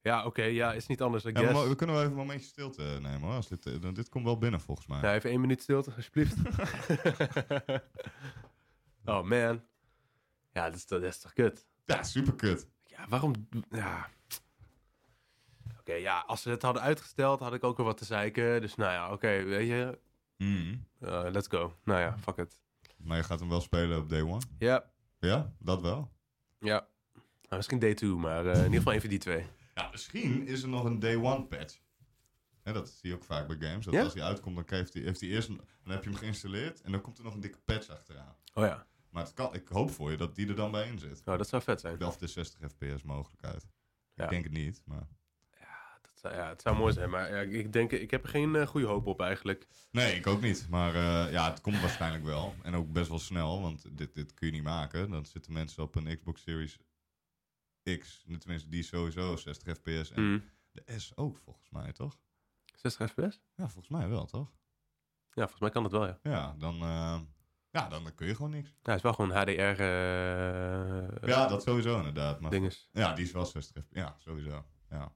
Ja, oké, ja, is niet anders, I Ja, maar guess. we kunnen wel even een momentje stilte nemen hoor. Als dit, eh, dan- dit komt wel binnen volgens mij. Nou, even één minuut stilte, *laughs* alsjeblieft. oh, man. Ja, dat is, dat is toch kut? Ja, super kut. Ja, waarom... Ja. Oké, ja, als ze het hadden uitgesteld, had ik ook wel wat te zeiken. Dus nou ja, oké, weet je... eh, let's go. Nou ja, fuck it. Hmm. Maar je gaat hem wel spelen op day one. Ja, Ja, dat wel. ja. Nou, misschien day 2, maar eh, in ieder geval even die twee. Ja, misschien is er nog een day one patch. Hè, dat zie je ook vaak bij games. Dat Ja? als die uitkomt, dan heeft hij, heeft hij eerst een, dan heb je hem geïnstalleerd. En dan komt er nog een dikke patch achteraan. Oh ja, Maar het kan, ik hoop voor je dat die er dan bij in zit. nou, dat zou vet zijn. Of de 60 fps mogelijkheid. Ja. Ik denk het niet, maar... Dat zou- ja, het zou mooi zijn, maar ja, ik denk, ik heb er geen eh, goede hoop op eigenlijk. Nee, ik ook niet. Maar eh, ja, het komt waarschijnlijk wel. En ook best wel snel, want dit, dit kun je niet maken. Dan zitten mensen op een Xbox Series X. Tenminste, die is sowieso 60 fps. En Mm. de S ook, volgens mij, toch? 60 fps? Ja, volgens mij wel, toch? Ja, volgens mij kan dat wel, ja. Ja, dan, eh, ja, dan kun je gewoon niks. Ja, het is wel gewoon HDR... eh Ja, dat sowieso inderdaad. Maar Dinges. ja, die is wel 60 fps. Ja, sowieso. Ja.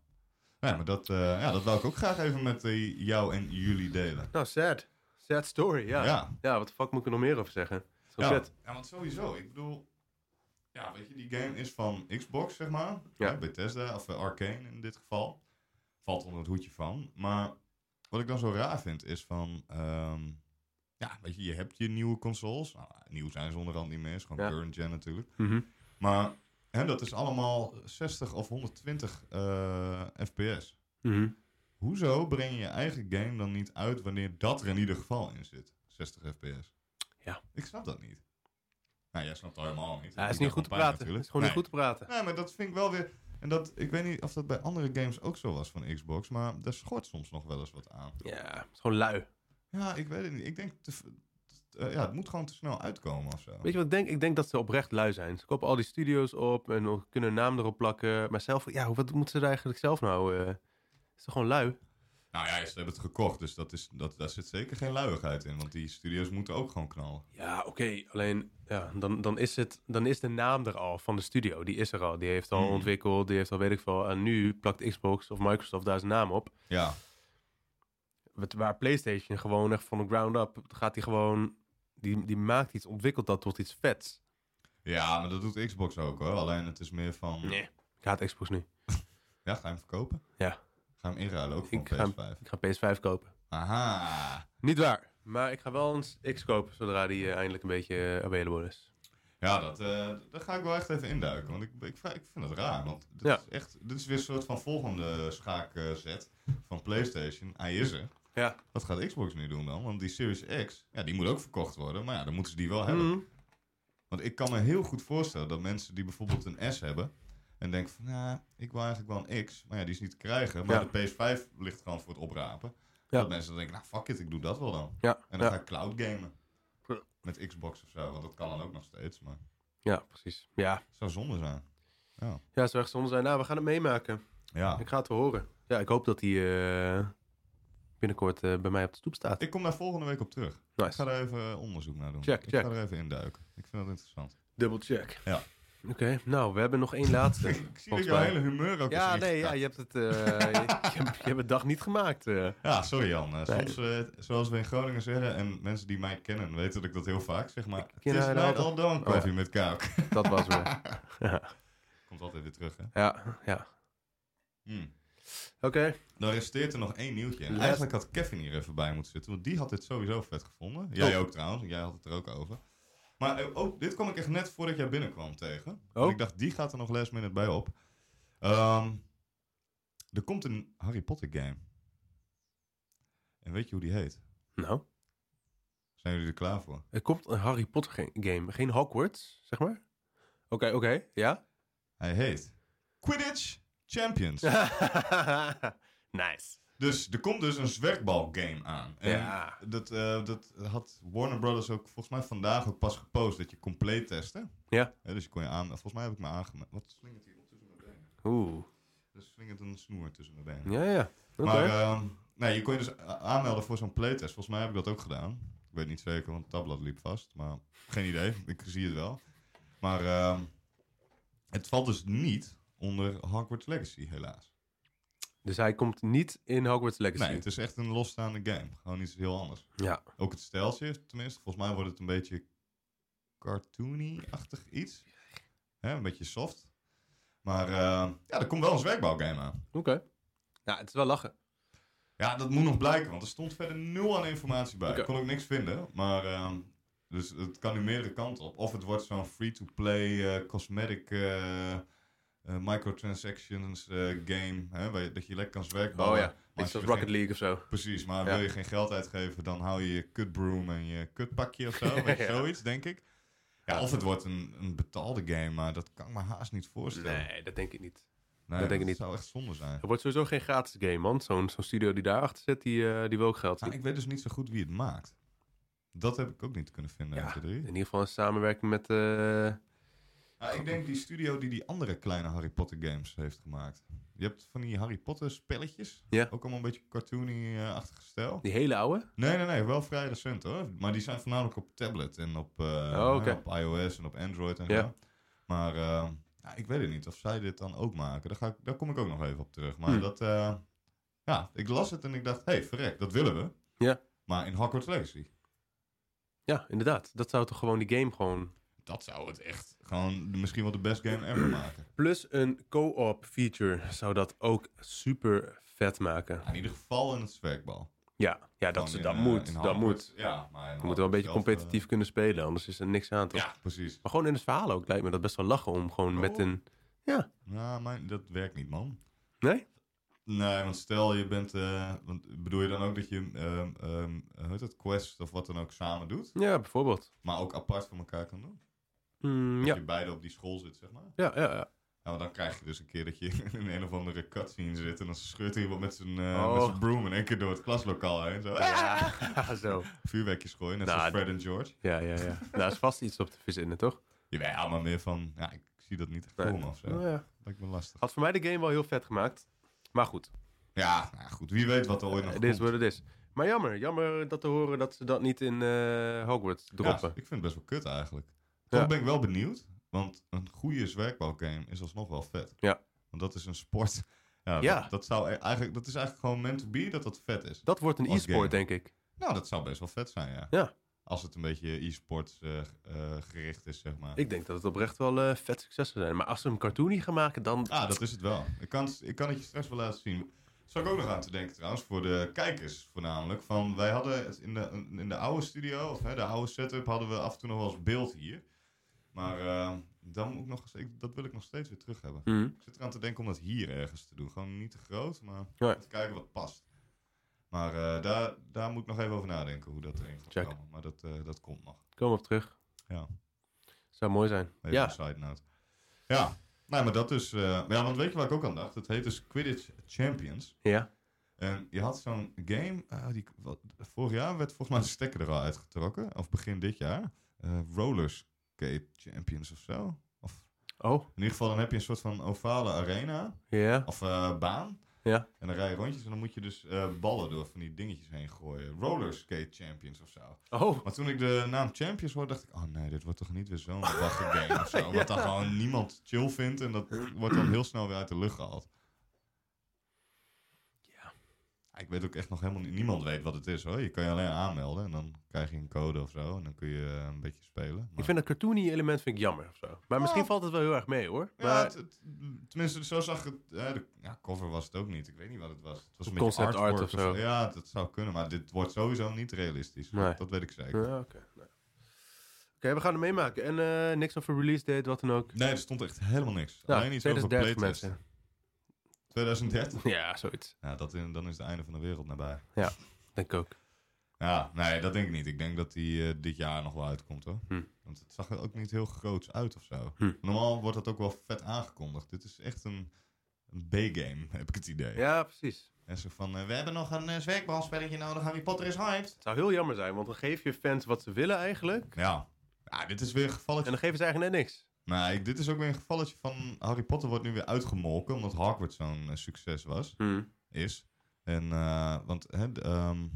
Nee, maar dat, eh, ja, dat wil ik ook graag even met eh, jou en jullie delen. Nou, sad. Sad story, ja. Ja, ja. wat de fuck moet ik er nog meer over zeggen? Het is wel Ja. vet. ja, want sowieso. Ik bedoel, ja, weet je, die game is van Xbox, zeg maar. Ja. Ja. Bethesda, of eh, Arcane in dit geval. Valt onder het hoedje van. Maar wat ik dan zo raar vind is van, ehm, ja, weet je, je hebt je nieuwe consoles. Nou, nieuw zijn ze onderhand niet meer, is gewoon Ja. current gen natuurlijk. Mhm. Maar hè, dat is allemaal 60 of 120 eh, fps. Mhm. Hoezo breng je je eigen game dan niet uit wanneer dat er in ieder geval in zit? 60 fps. Ja. Ik snap dat niet. Nou, jij snapt dat helemaal niet. Ja, hij Ik is niet ben goed te gewoon pijn praten. Het is natuurlijk. gewoon niet Nee. goed te praten. Nee, maar dat vind ik wel weer... En dat, ik weet niet of dat bij andere games ook zo was van Xbox, maar daar schort soms nog wel eens wat aan. Ja, het is gewoon lui. Ja, ik weet het niet. Ik denk, te, v- t- eh, ja, het moet gewoon te snel uitkomen of zo. Weet je wat ik denk? Ik denk dat ze oprecht lui zijn. Ze kopen al die studio's op en kunnen hun naam erop plakken. Maar zelf, ja, wat moeten ze er eigenlijk zelf nou? eh is toch gewoon lui? Nou ja, ze hebben het gekocht, dus dat is, dat, daar zit zeker geen luiigheid in, want die studios moeten ook gewoon knallen. Ja, oké. Alleen, ja, dan, dan, is het, dan is de naam er al van de studio. Die is er al. Die heeft al Mm. ontwikkeld. Die heeft al weet ik veel. En nu plakt Xbox of Microsoft daar zijn naam op. Ja, Wat- Waar PlayStation gewoon echt van de ground up gaat die gewoon... Die, die maakt iets, ontwikkelt dat tot iets vets. ja maar dat doet Xbox ook hoor. Alleen het is meer van... Ik haat Xbox nu. Ja, ga je hem verkopen? Ja. Ga je hem inruilen ook voor Ik een ga hem- PS5? Ik ga PS5 kopen. Aha. Niet waar. Maar ik ga wel een X kopen zodra die eh, eindelijk een beetje eh, available is. Ja, dat, eh, daar ga ik wel echt even induiken. Want ik, ik, vraag- ik vind het raar. Want dit, Ja. is echt, dit is weer een soort van volgende schaakzet van PlayStation. Hij is er. Ja. Wat gaat Xbox nu doen dan? Want die Series X, ja, die moet ook verkocht worden. Maar ja, dan moeten ze die wel hebben. Mhm. Want ik kan me heel goed voorstellen dat mensen die bijvoorbeeld een S hebben. En denken van, nou, ik wil eigenlijk wel een X. Maar ja, die is niet te krijgen. Maar Ja. de PS5 ligt gewoon voor het oprapen. Ja. Dat mensen dan denken, nou fuck it, ik doe dat wel dan. Ja, En dan ja, ga ik cloud gamen. Ja. Met Xbox of zo. Want dat kan dan ook nog steeds. Maar ja, precies. Ja. het zou zonde zijn. ja, zou echt zonde zijn. Nou, we gaan het meemaken. Ja. Ik ga het wel horen. Ja, ik hoop dat die eh, binnenkort eh, bij mij op de stoep staat. Ik kom daar volgende week op terug. Ik Nice. ga er even eh, onderzoek naar doen. Check, ik check. ga er even induiken. Ik vind dat interessant. Double check. Ja. Oké, nou, we hebben nog één laatste. *laughs* ik zie *laughs* dat volgens jouw mij. hele humeur ook Ja, is nee, ja, ingegaan. je hebt het, eh, je, je hebt- je hebt het dag niet gemaakt. eh. Ja, sorry Jan. Eh, Nee. Soms, eh, zoals we in Groningen zeggen, en mensen die mij kennen weten dat ik dat heel vaak zeg, maar het ken is haar mij altijd. Oh, al dan koffie met kaak. Dat was weer. Komt altijd weer terug, hè? Ja, ja. Hmm. Oké. Dan resteert er nog één nieuwtje. En Laat- eigenlijk had Kevin hier even bij moeten zitten, want die had dit sowieso vet gevonden. Jij ook trouwens, want jij had het er ook over. Maar eh, ook, dit kwam ik echt net voordat jij binnenkwam tegen. Oh. En ik dacht, die gaat er nog last minute bij op. Ehm, er komt een Harry Potter game. En weet je hoe die heet? Nou, Zijn jullie er klaar voor? er komt een Harry Potter ge- game. Geen Hogwarts, zeg maar. Oké, oké. ja? *laughs* Hij heet Quidditch Champions. nice. Dus er komt dus een zwerkbalgame aan. En Ja. dat, eh, dat had Warner Brothers ook volgens mij vandaag ook pas gepost. Dat je compleet testte. Ja. Hè, dus je kon je aan... Volgens mij heb ik me aangemeld. Wat slingert hier op tussen mijn benen? Oeh. Er slingert een snoer tussen mijn benen. Ja, ja. Oké. Maar ehm, nee, je kon je dus a- aanmelden voor zo'n playtest. Volgens mij heb ik dat ook gedaan. Ik weet niet zeker, want het tabblad liep vast. Maar geen idee, ik zie het wel. Maar ehm, het valt dus niet onder Hogwarts Legacy, helaas. Dus hij komt niet in Hogwarts Legacy. Nee, het is echt een losstaande game. Gewoon iets heel anders. Ja. Ook het stijltje, tenminste. Volgens mij wordt het een beetje cartoony-achtig iets. Hè, een beetje soft. Maar eh, ja, er komt wel een zwerkbouwgame aan. Oké. Ja, het is wel lachen. Ja, dat moet nog blijken, want er stond verder nul aan informatie bij. Oké. Ik kon ook niks vinden. Maar ehm, dus het kan nu meerdere kanten op. Of het wordt zo'n free-to-play eh, cosmetic eh, eh, microtransactions eh, game. Hè, waar je, dat je lekker kan zwerkbouwen. Oh ja. Maar Iets als je zoals er Rocket League of zo. Precies, maar Ja. wil je geen geld uitgeven, dan hou je je kutbroom en je kutpakje of *laughs* zo. weet je, Ja. Zoiets, denk ik. Ja, of het wordt een, een betaalde game, maar dat kan ik me haast niet voorstellen. Nee, dat denk ik niet. Nee, denk ik niet. zou echt zonde zijn. Het wordt sowieso geen gratis game, man. Zo'n zo'n studio die daarachter zit, die, eh, die wil ook geld. Nou, ik weet dus niet zo goed wie het maakt. Dat heb ik ook niet kunnen vinden. Ja. uit de drie. In ieder geval een samenwerking met... eh, Nou, ik denk die studio die die andere kleine Harry Potter games heeft gemaakt. Je hebt van die Harry Potter spelletjes. Ja. Ook allemaal een beetje eh, cartoony-achtige stijl. die hele oude? Nee, nee, nee. Wel vrij recent hoor. Maar die zijn voornamelijk op tablet en op, eh, Oh, oké. op iOS en op Android en Ja. zo. Maar eh, ja, ik weet het niet of zij dit dan ook maken. Daar, ga ik, daar kom ik ook nog even op terug. Maar Hmm. dat, eh, ja, ik las het en ik dacht, hé, hey, verrek, dat willen we. Ja. Maar in Hogwarts Legacy, Ja, inderdaad. Dat zou toch gewoon die game gewoon... dat zou het echt gewoon de- misschien wel de best game ever maken. Plus een co-op feature zou dat ook super vet maken. Ja, in ieder geval in het zwerkbal. Ja, ja dat, Gewoon in, dat eh, in moet. Dat Hogwarts. moet. Ja, maar in Je moet wel een beetje Hogwarts zelf, competitief kunnen spelen, anders is er niks aan eh, toch? ja, precies. Maar gewoon in het verhaal ook lijkt me dat best wel lachen om gewoon met Oh. een... Nou, maar dat werkt niet, man. Nee? Nee, want stel je bent. eh, want bedoel je dan ook dat je. ehm ehm, hoe heet dat? Quest of wat dan ook samen doet. Ja, bijvoorbeeld. Maar ook apart van elkaar kan doen. Mm, Dat ja. je beide op die school zit, zeg maar. Ja, ja, ja. Nou, dan krijg je dus een keer dat je *laughs* in een of andere cutscene zit. En dan scheurt er iemand met zijn eh, Oh. met zijn broom in één keer door het klaslokaal heen. Zo. Ja, *laughs* zo. Vuurwerkjes gooien, net Nou, zoals Fred en George. Ja, ja, *laughs* ja. Daar is vast iets op te verzinnen, toch? Ja, maar meer van. Ja, ik zie dat niet echt Nee. komen of zo. Nou ja. Lijkt me lastig. Had voor mij de game wel heel vet gemaakt. Maar goed, Ja, nou ja, goed. Wie weet wat er ooit nog dit is komt. wat het is. Maar jammer, jammer dat te horen dat ze dat niet in eh, Hogwarts droppen. Ja, ik vind het best wel kut eigenlijk. Ja. Toch ben ik wel benieuwd, want een goede zwerkbouwgame is alsnog wel vet. Ja. Want dat is een sport. *laughs* Ja, Ja. Dat, dat zou e- eigenlijk, dat is eigenlijk gewoon meant to be dat dat vet is. Dat wordt een Als e-sport, game. denk ik. Nou, dat zou best wel vet zijn, ja. Ja. Als het een beetje e-sport eh, eh, gericht is, zeg maar. Ik denk dat het oprecht wel eh, vet succes zou zijn. Maar als ze hem cartoony gaan maken, dan... Ah, dat is het wel. Ik kan, het- ik kan het je straks wel laten zien. Zou ik ook nog aan te denken trouwens, voor de kijkers voornamelijk. Van, wij hadden het in de, in de oude studio, of hè, de oude setup, hadden we af en toe nog wel eens beeld hier. Maar eh, dan moet ik nog, eens- ik, dat wil ik nog steeds weer terug hebben. Mhm. Ik zit eraan te denken om dat hier ergens te doen. Gewoon niet te groot, maar Ja. te kijken wat past. Maar eh, daar, daar moet ik nog even over nadenken hoe dat erin gaat Check. komen. Maar dat, eh, dat komt nog. Komen we op terug. Ja. Zou mooi zijn. Even ja. een side note. Ja, nou, maar dat is... eh, maar ja, want weet je waar ik ook aan dacht? Het heet dus Quidditch Champions. Ja. En je had zo'n game... ah, die, wat- vorig jaar werd volgens mij de stekker er al uitgetrokken. Of begin dit jaar. Eh Rollerskate Champions of zo. Of, Oh. in ieder geval dan heb je een soort van ovale arena. Ja. Of eh, baan. Ja. En dan rij je rondjes en dan moet je dus eh, ballen door van die dingetjes heen gooien. Rollerskate Champions of zo. Oh. Maar toen ik de naam Champions hoorde, dacht ik... Oh nee, dit wordt toch niet weer *laughs* zo'n wachte game of zo. Wat dan gewoon niemand chill vindt. En dat wordt dan heel snel weer uit de lucht gehaald. Ja. Ik weet ook echt nog helemaal niet... Niemand weet wat het is hoor. Je kan je alleen aanmelden. En dan krijg je een code of zo. En dan kun je eh, een beetje spelen. Ik Maar- vind dat cartoony element vind ik jammer of zo. Maar misschien Oh. valt het wel heel erg mee hoor. Ja, maar het- het- tenminste, zo zag het. eh, de ja, cover was het ook niet. Ik weet niet wat het was. Het was een Concept beetje artwork art of zo. Ja, dat zou kunnen. Maar dit wordt sowieso niet realistisch. Nee. Dat, dat weet ik zeker. Ja, oké. Nou. Oké, we gaan het meemaken. En eh, niks over release date, wat dan ook. Nee, er stond echt helemaal niks. Nou, Alleen iets over 2030 playtest. 2030? *laughs* Ja, zoiets. Ja, dat, in- dan is het einde van de wereld nabij. Denk ik ook. Ja, nee, dat denk ik niet. Ik denk dat die eh, dit jaar nog wel uitkomt hoor. Hm. Want het zag er ook niet heel groots uit of zo. Hm. Normaal wordt dat ook wel vet aangekondigd. Dit is echt een, een B-game, *laughs* heb ik het idee. Ja, precies. En zo van, eh, we hebben nog een uh, zwerkbalspelletje nodig. Harry Potter is hyped. Het zou heel jammer zijn, want dan geef je fans wat ze willen eigenlijk. Ja. ja, dit is weer een En gevalletje. dan geven ze eigenlijk net niks. Nee, ik- dit is ook weer een gevalletje van Harry Potter wordt nu weer uitgemolken. Omdat Hogwarts zo'n eh, succes was. Is. En, eh, want hè, d- ehm,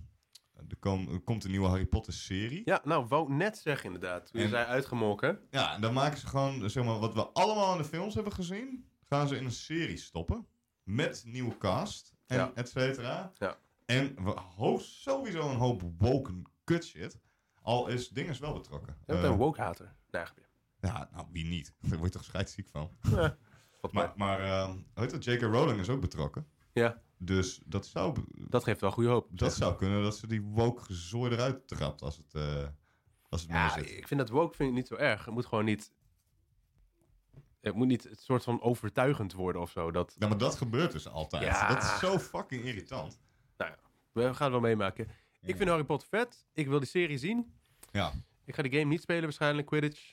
er, kom- er komt een nieuwe Harry Potter serie. Ja, nou, wou net zeggen inderdaad. Toen je En- zei uitgemolken. Ja, en dan maken ze gewoon, zeg maar, wat we allemaal in de films hebben gezien, gaan ze in een serie stoppen. Met nieuwe cast en Ja. et cetera. Ja. En we hoogst sowieso een hoop woken kut shit. Al is dinges wel betrokken. Je bent Eh, een woke-hater. Nee, grapje. ja, nou, wie niet? *laughs* Daar word je toch scheidsziek van. Valt Maar, maar eh, weet je, J.K. Rowling is ook betrokken. Ja. Dus dat zou, be- mee. Dat geeft wel goede hoop. dat zou kunnen dat ze die woke gezooi eruit trapt als het, eh als het Ja, mee zit. ik vind dat woke vind ik niet zo erg. Het moet gewoon niet... Het moet niet het soort van overtuigend worden of zo. Dat, Ja, maar dat gebeurt dus altijd. Ja. Dat is zo fucking irritant. we gaan het wel meemaken. Ik vind Harry Potter vet. Ik wil die serie zien. Ja. Ik ga de game niet spelen waarschijnlijk, Quidditch. *laughs*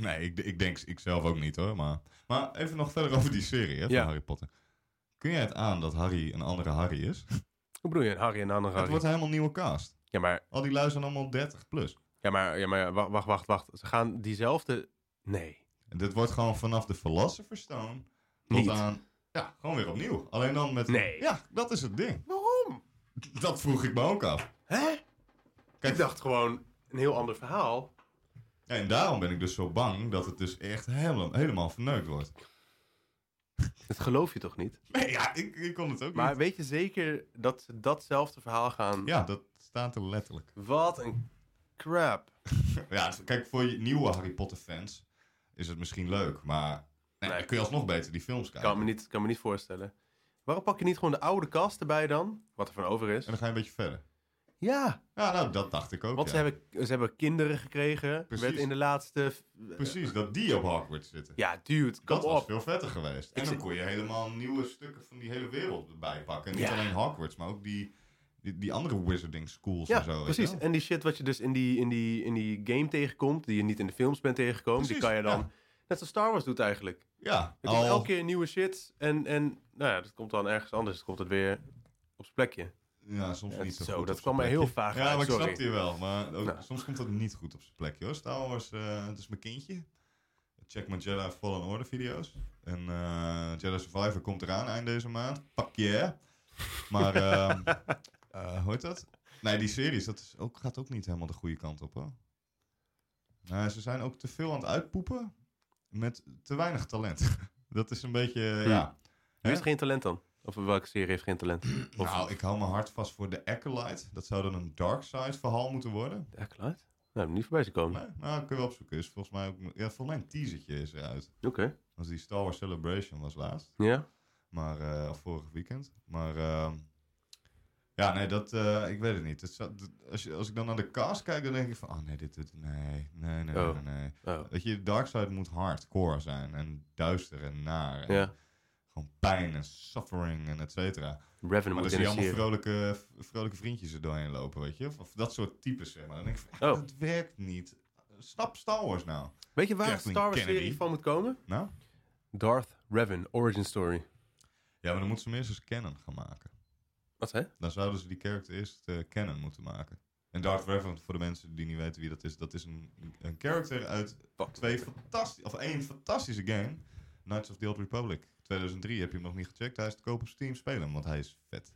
Nee, ik, ik denk ik zelf ook niet hoor. Maar, maar even nog verder over die serie hè, van Ja. Harry Potter. Kun jij het aan dat Harry een andere Harry is? Hoe bedoel je, Harry en een andere Het Harry? wordt helemaal nieuwe cast. Ja, maar, Al die lui zijn allemaal 30 plus. ja, maar, ja, maar wa- wacht, wacht, wacht. Ze gaan diezelfde... Nee, En dit wordt gewoon vanaf de Philosopher's Stone tot niet. aan... Ja, gewoon weer opnieuw. Alleen dan met... Nee. Ja, dat is het ding. Waarom? Dat vroeg ik me ook af. Hè? Kijk, Ik dacht gewoon een heel ander verhaal. Ja, en daarom ben ik dus zo bang dat het dus echt helemaal, helemaal verneukt wordt. Dat geloof je toch niet? Nee, ja, ik, ik kon het ook Maar niet. weet je zeker dat ze datzelfde verhaal gaan? Ja, dat staat er letterlijk. Wat een crap. *laughs* Ja, het- kijk, voor je nieuwe Harry Potter fans is het misschien leuk, maar... Nee, Nee. dan kun je alsnog beter die films kijken. Kan me, niet, kan me niet voorstellen. Waarom pak je niet gewoon de oude kast erbij dan? Wat er van over is. En dan ga je een beetje verder. Ja, Ja, nou, dat dacht ik ook, want ja. ze, hebben, ze hebben kinderen gekregen. Precies. Werd in de laatste... Precies, dat die op Hogwarts zitten. Ja, dude, kom dat was op. veel vetter geweest. En Ik dan zi- kon je helemaal nieuwe stukken van die hele wereld erbij pakken. En niet Ja. alleen Hogwarts, maar ook die, die, die andere wizarding schools Ja, en zo. weet je precies. wel. En die shit wat je dus in die, in, die, in die game tegenkomt, die je niet in de films bent tegengekomen, die Precies, kan je dan... ja. Oh. Net zoals Star Wars doet eigenlijk. Ja, Er komt al- elke keer nieuwe shit en, en nou ja, dat komt dan ergens anders. Dan komt het weer op zijn plekje. ja, soms Ja, niet zo zo, goed dat op kwam mij zijn plekje. heel vaag Ja, uit, maar ik sorry. snapte je wel. Maar ook, Nou. soms komt dat niet goed op zijn plek, joh. Star Wars, eh, het is mijn kindje. Check mijn Jedi Fallen Order video's. En eh, Jedi Survivor komt eraan eind deze maand. Pak je, hè? Maar, *laughs* ehm eh, hoe heet dat? Nee, die series, dat is ook, gaat ook niet helemaal de goede kant op, hoor. Nou, ze zijn ook te veel aan het uitpoepen met te weinig talent. *laughs* dat is een beetje, eh, Hm. ja... Wie Hè? heeft geen talent dan? Of welke serie heeft geen talent? *clears throat* Of Nou, ik hou me hard vast voor de Acolyte. Dat zou dan een Dark Side verhaal moeten worden. de Acolyte? Nou, niet voorbij te komen. Nee, nou, kun je wel opzoeken. Is volgens mij ook, ja, volgens mij een teasertje is eruit. Oké. Dat was die Star Wars Celebration was laatst. Ja? Maar, eh, of vorig weekend. Maar ehm, ja, nee, dat, eh, ik weet het niet. Het zou- dat- als, je, als ik dan naar de cast kijk, dan denk ik van, oh nee, dit, dit nee, nee, nee, Oh. nee, nee. Oh, Dat je Dark Side moet hardcore zijn en duister en naar. En ja. Gewoon pijn en suffering en et cetera. Revenant Maar dan moet zie je allemaal initiëren. vrolijke, vrolijke vriendjes er doorheen lopen, weet je. Of, of dat soort types, zeg maar. Dan denk ik van, Oh. dat werkt niet. Snap Star Wars nou. Weet je waar een Kathleen Star Wars Kennedy. serie van moet komen? Nou? Darth Revan, Origin Story. Ja, maar dan moeten ze hem eerst eens canon gaan maken. Wat, hè? Dan zouden ze die character eerst eh canon moeten maken. En Darth Revan, voor de mensen die niet weten wie dat is, dat is een, een character uit twee fantastische, of één fantastische game. Knights of the Old Republic. 2003 heb je hem nog niet gecheckt. Hij is te koop op Steam spelen, want hij is vet.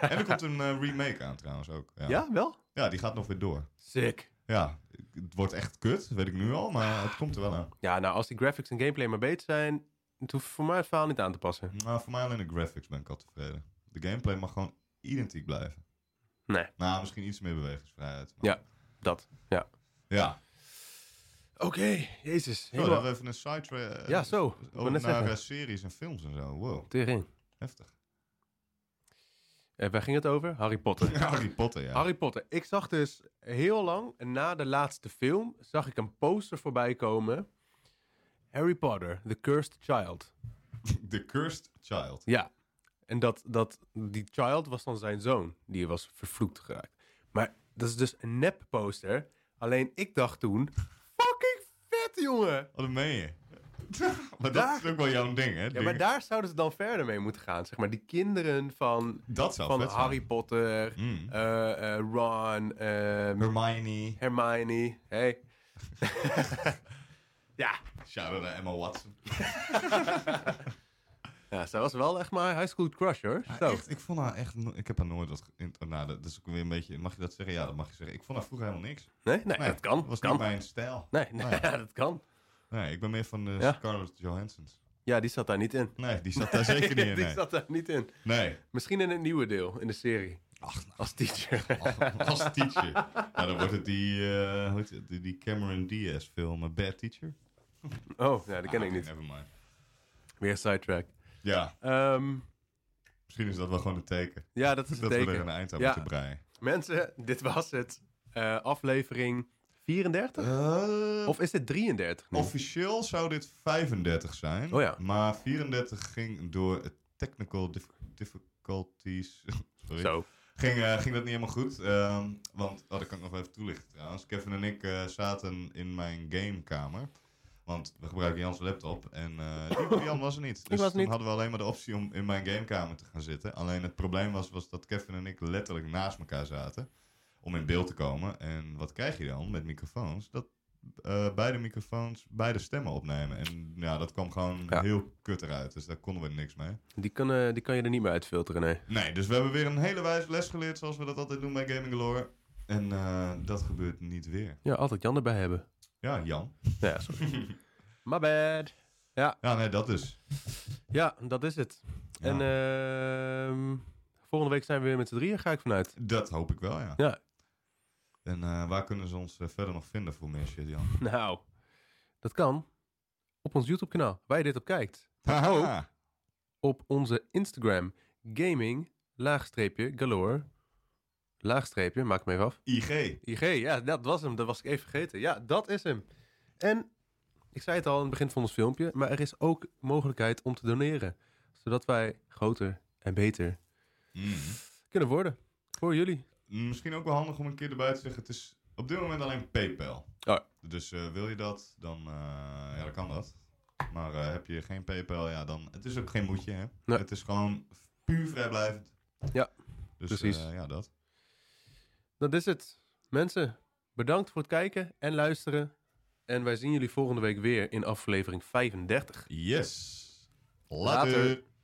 en er komt een eh, remake aan trouwens ook. Ja. Ja, wel? Ja, die gaat nog weer door. Sick. Ja, het wordt echt kut, weet ik nu al, maar het komt er wel aan. Ja, nou, als die graphics en gameplay maar beter zijn, het hoeft voor mij het verhaal niet aan te passen. Nou, voor mij alleen de graphics ben ik al tevreden. De gameplay mag gewoon identiek blijven. Nee. Nou, misschien iets meer bewegingsvrijheid. maar- Ja. Dat. Ja. Oké, jezus. Zo, dan Helemaal... hebben we even een sidetrack. Ja, zo. Ik wou Over net naar zeggen. eh, series en films en zo. Wow, Tering. heftig. *laughs* En Eh, waar ging het over? Harry Potter. Harry Potter, *laughs* ja. Harry Potter. Ik zag dus heel lang na de laatste film, zag ik een poster voorbij komen. Harry Potter, The Cursed Child. The Cursed Child. Ja. En dat, dat, die child was dan zijn zoon. Die was vervloekt geraakt. Maar dat is dus een nep poster. Alleen ik dacht toen, fucking vet jongen. Wat meen je? *laughs* Daar- maar dat is ook wel jouw ding, hè? Ja, ding. maar daar zouden ze dan verder mee moeten gaan. Zeg maar die kinderen van, Dat zou van vet zijn. Harry Potter, Mm. eh, eh, Ron, eh, Hermione. Hermione. Hey. *laughs* ja. Shout-out naar Emma Watson. ja, zij was wel echt maar high school crush hoor. Ja, Zo. echt, ik vond haar echt... no- Ik heb haar nooit wat... ge- in- nou, dat is ook weer een beetje... Mag je dat zeggen? Ja, dat mag je zeggen. Ik vond haar vroeger helemaal niks. Nee, nee, Nee, dat kan. Oh Dat was kan. niet mijn Oh stijl. Nee, nee, Nee. *laughs* dat kan. Nee, ik ben meer van de Ja. Scarlett Johansson's. Ja, die zat daar niet in. Nee, die zat daar zeker niet *laughs* in. die Nee. zat daar niet in. nee. Misschien in het nieuwe deel, in de serie. Ach, nou, Als teacher. *laughs* ach, als teacher. Nou, dan wordt het die, eh, hoe heet het, die- die Cameron Diaz film eh, Bad Teacher. Oh, ja, dat ken Ah, ik oké, niet. Never mind. Weer sidetrack. Ja, Ehm, misschien is dat wel gewoon een teken. ja, dat is het Dat nou. we er teken. een eind aan Ja. moeten breien. Mensen, dit was het. Eh, aflevering 34? Eh, Of is dit 33 nu? Officieel zou dit 35 zijn. Oh ja. Maar 34 ging door eh, technical dif- difficulties. *laughs* Sorry. Zo. Ging, eh, ging dat niet helemaal goed. ehm, want, oh, dat kan ik nog wel even toelichten trouwens. Kevin en ik eh, zaten in mijn gamekamer. Want we gebruiken Jans laptop. En eh, die- Jan was er niet. Dus was toen niet. hadden we alleen maar de optie om in mijn gamekamer te gaan zitten. Alleen het probleem was, was dat Kevin en ik letterlijk naast elkaar zaten. Om in beeld te komen. En wat krijg je dan met microfoons? Dat eh, beide microfoons beide stemmen opnemen. En ja, dat kwam gewoon Ja. heel kut eruit. Dus daar konden we niks mee. Die kan, eh, die kan je er niet meer uitfilteren, nee. Nee, dus we hebben weer een hele wijze les geleerd zoals we dat altijd doen bij Gaming Galore. En eh, dat gebeurt niet weer. Ja, altijd Jan erbij hebben. Ja, Jan. Ja, sorry. My bad. *laughs* Ja, nee, dat dus. Ja, dat is het. Ja, En eh, ehm, volgende week zijn we weer met z'n drieën, ga ik vanuit. *laughs* dat hoop ik wel, ja. Ja. En eh, waar kunnen ze ons eh, verder nog vinden voor meer shit, Jan? Nou, dat kan op ons YouTube-kanaal, waar je dit op kijkt. *laughs* Haha. Op onze Instagram, gaming, laagstreepje, galore, laagstreepje, maak hem even af. IG. IG, ja, dat was hem, dat was ik even vergeten. Ja, dat is hem. En, ik zei het al in het begin van ons filmpje, maar er is ook mogelijkheid om te doneren. Zodat wij groter en beter Mm. kunnen worden. Voor jullie. Misschien ook wel handig om een keer erbij te zeggen, het is op dit moment alleen PayPal. Ja. Dus eh, wil je dat, dan, eh, ja, dan kan dat. Maar eh, heb je geen PayPal, ja, dan... Het is ook geen moedje, hè? Nee. Het is gewoon puur vrijblijvend. Ja, dus, precies. eh, ja, dat. Dat is het. Mensen, bedankt voor het kijken en luisteren. En wij zien jullie volgende week weer in aflevering 35. Yes. Later. Later.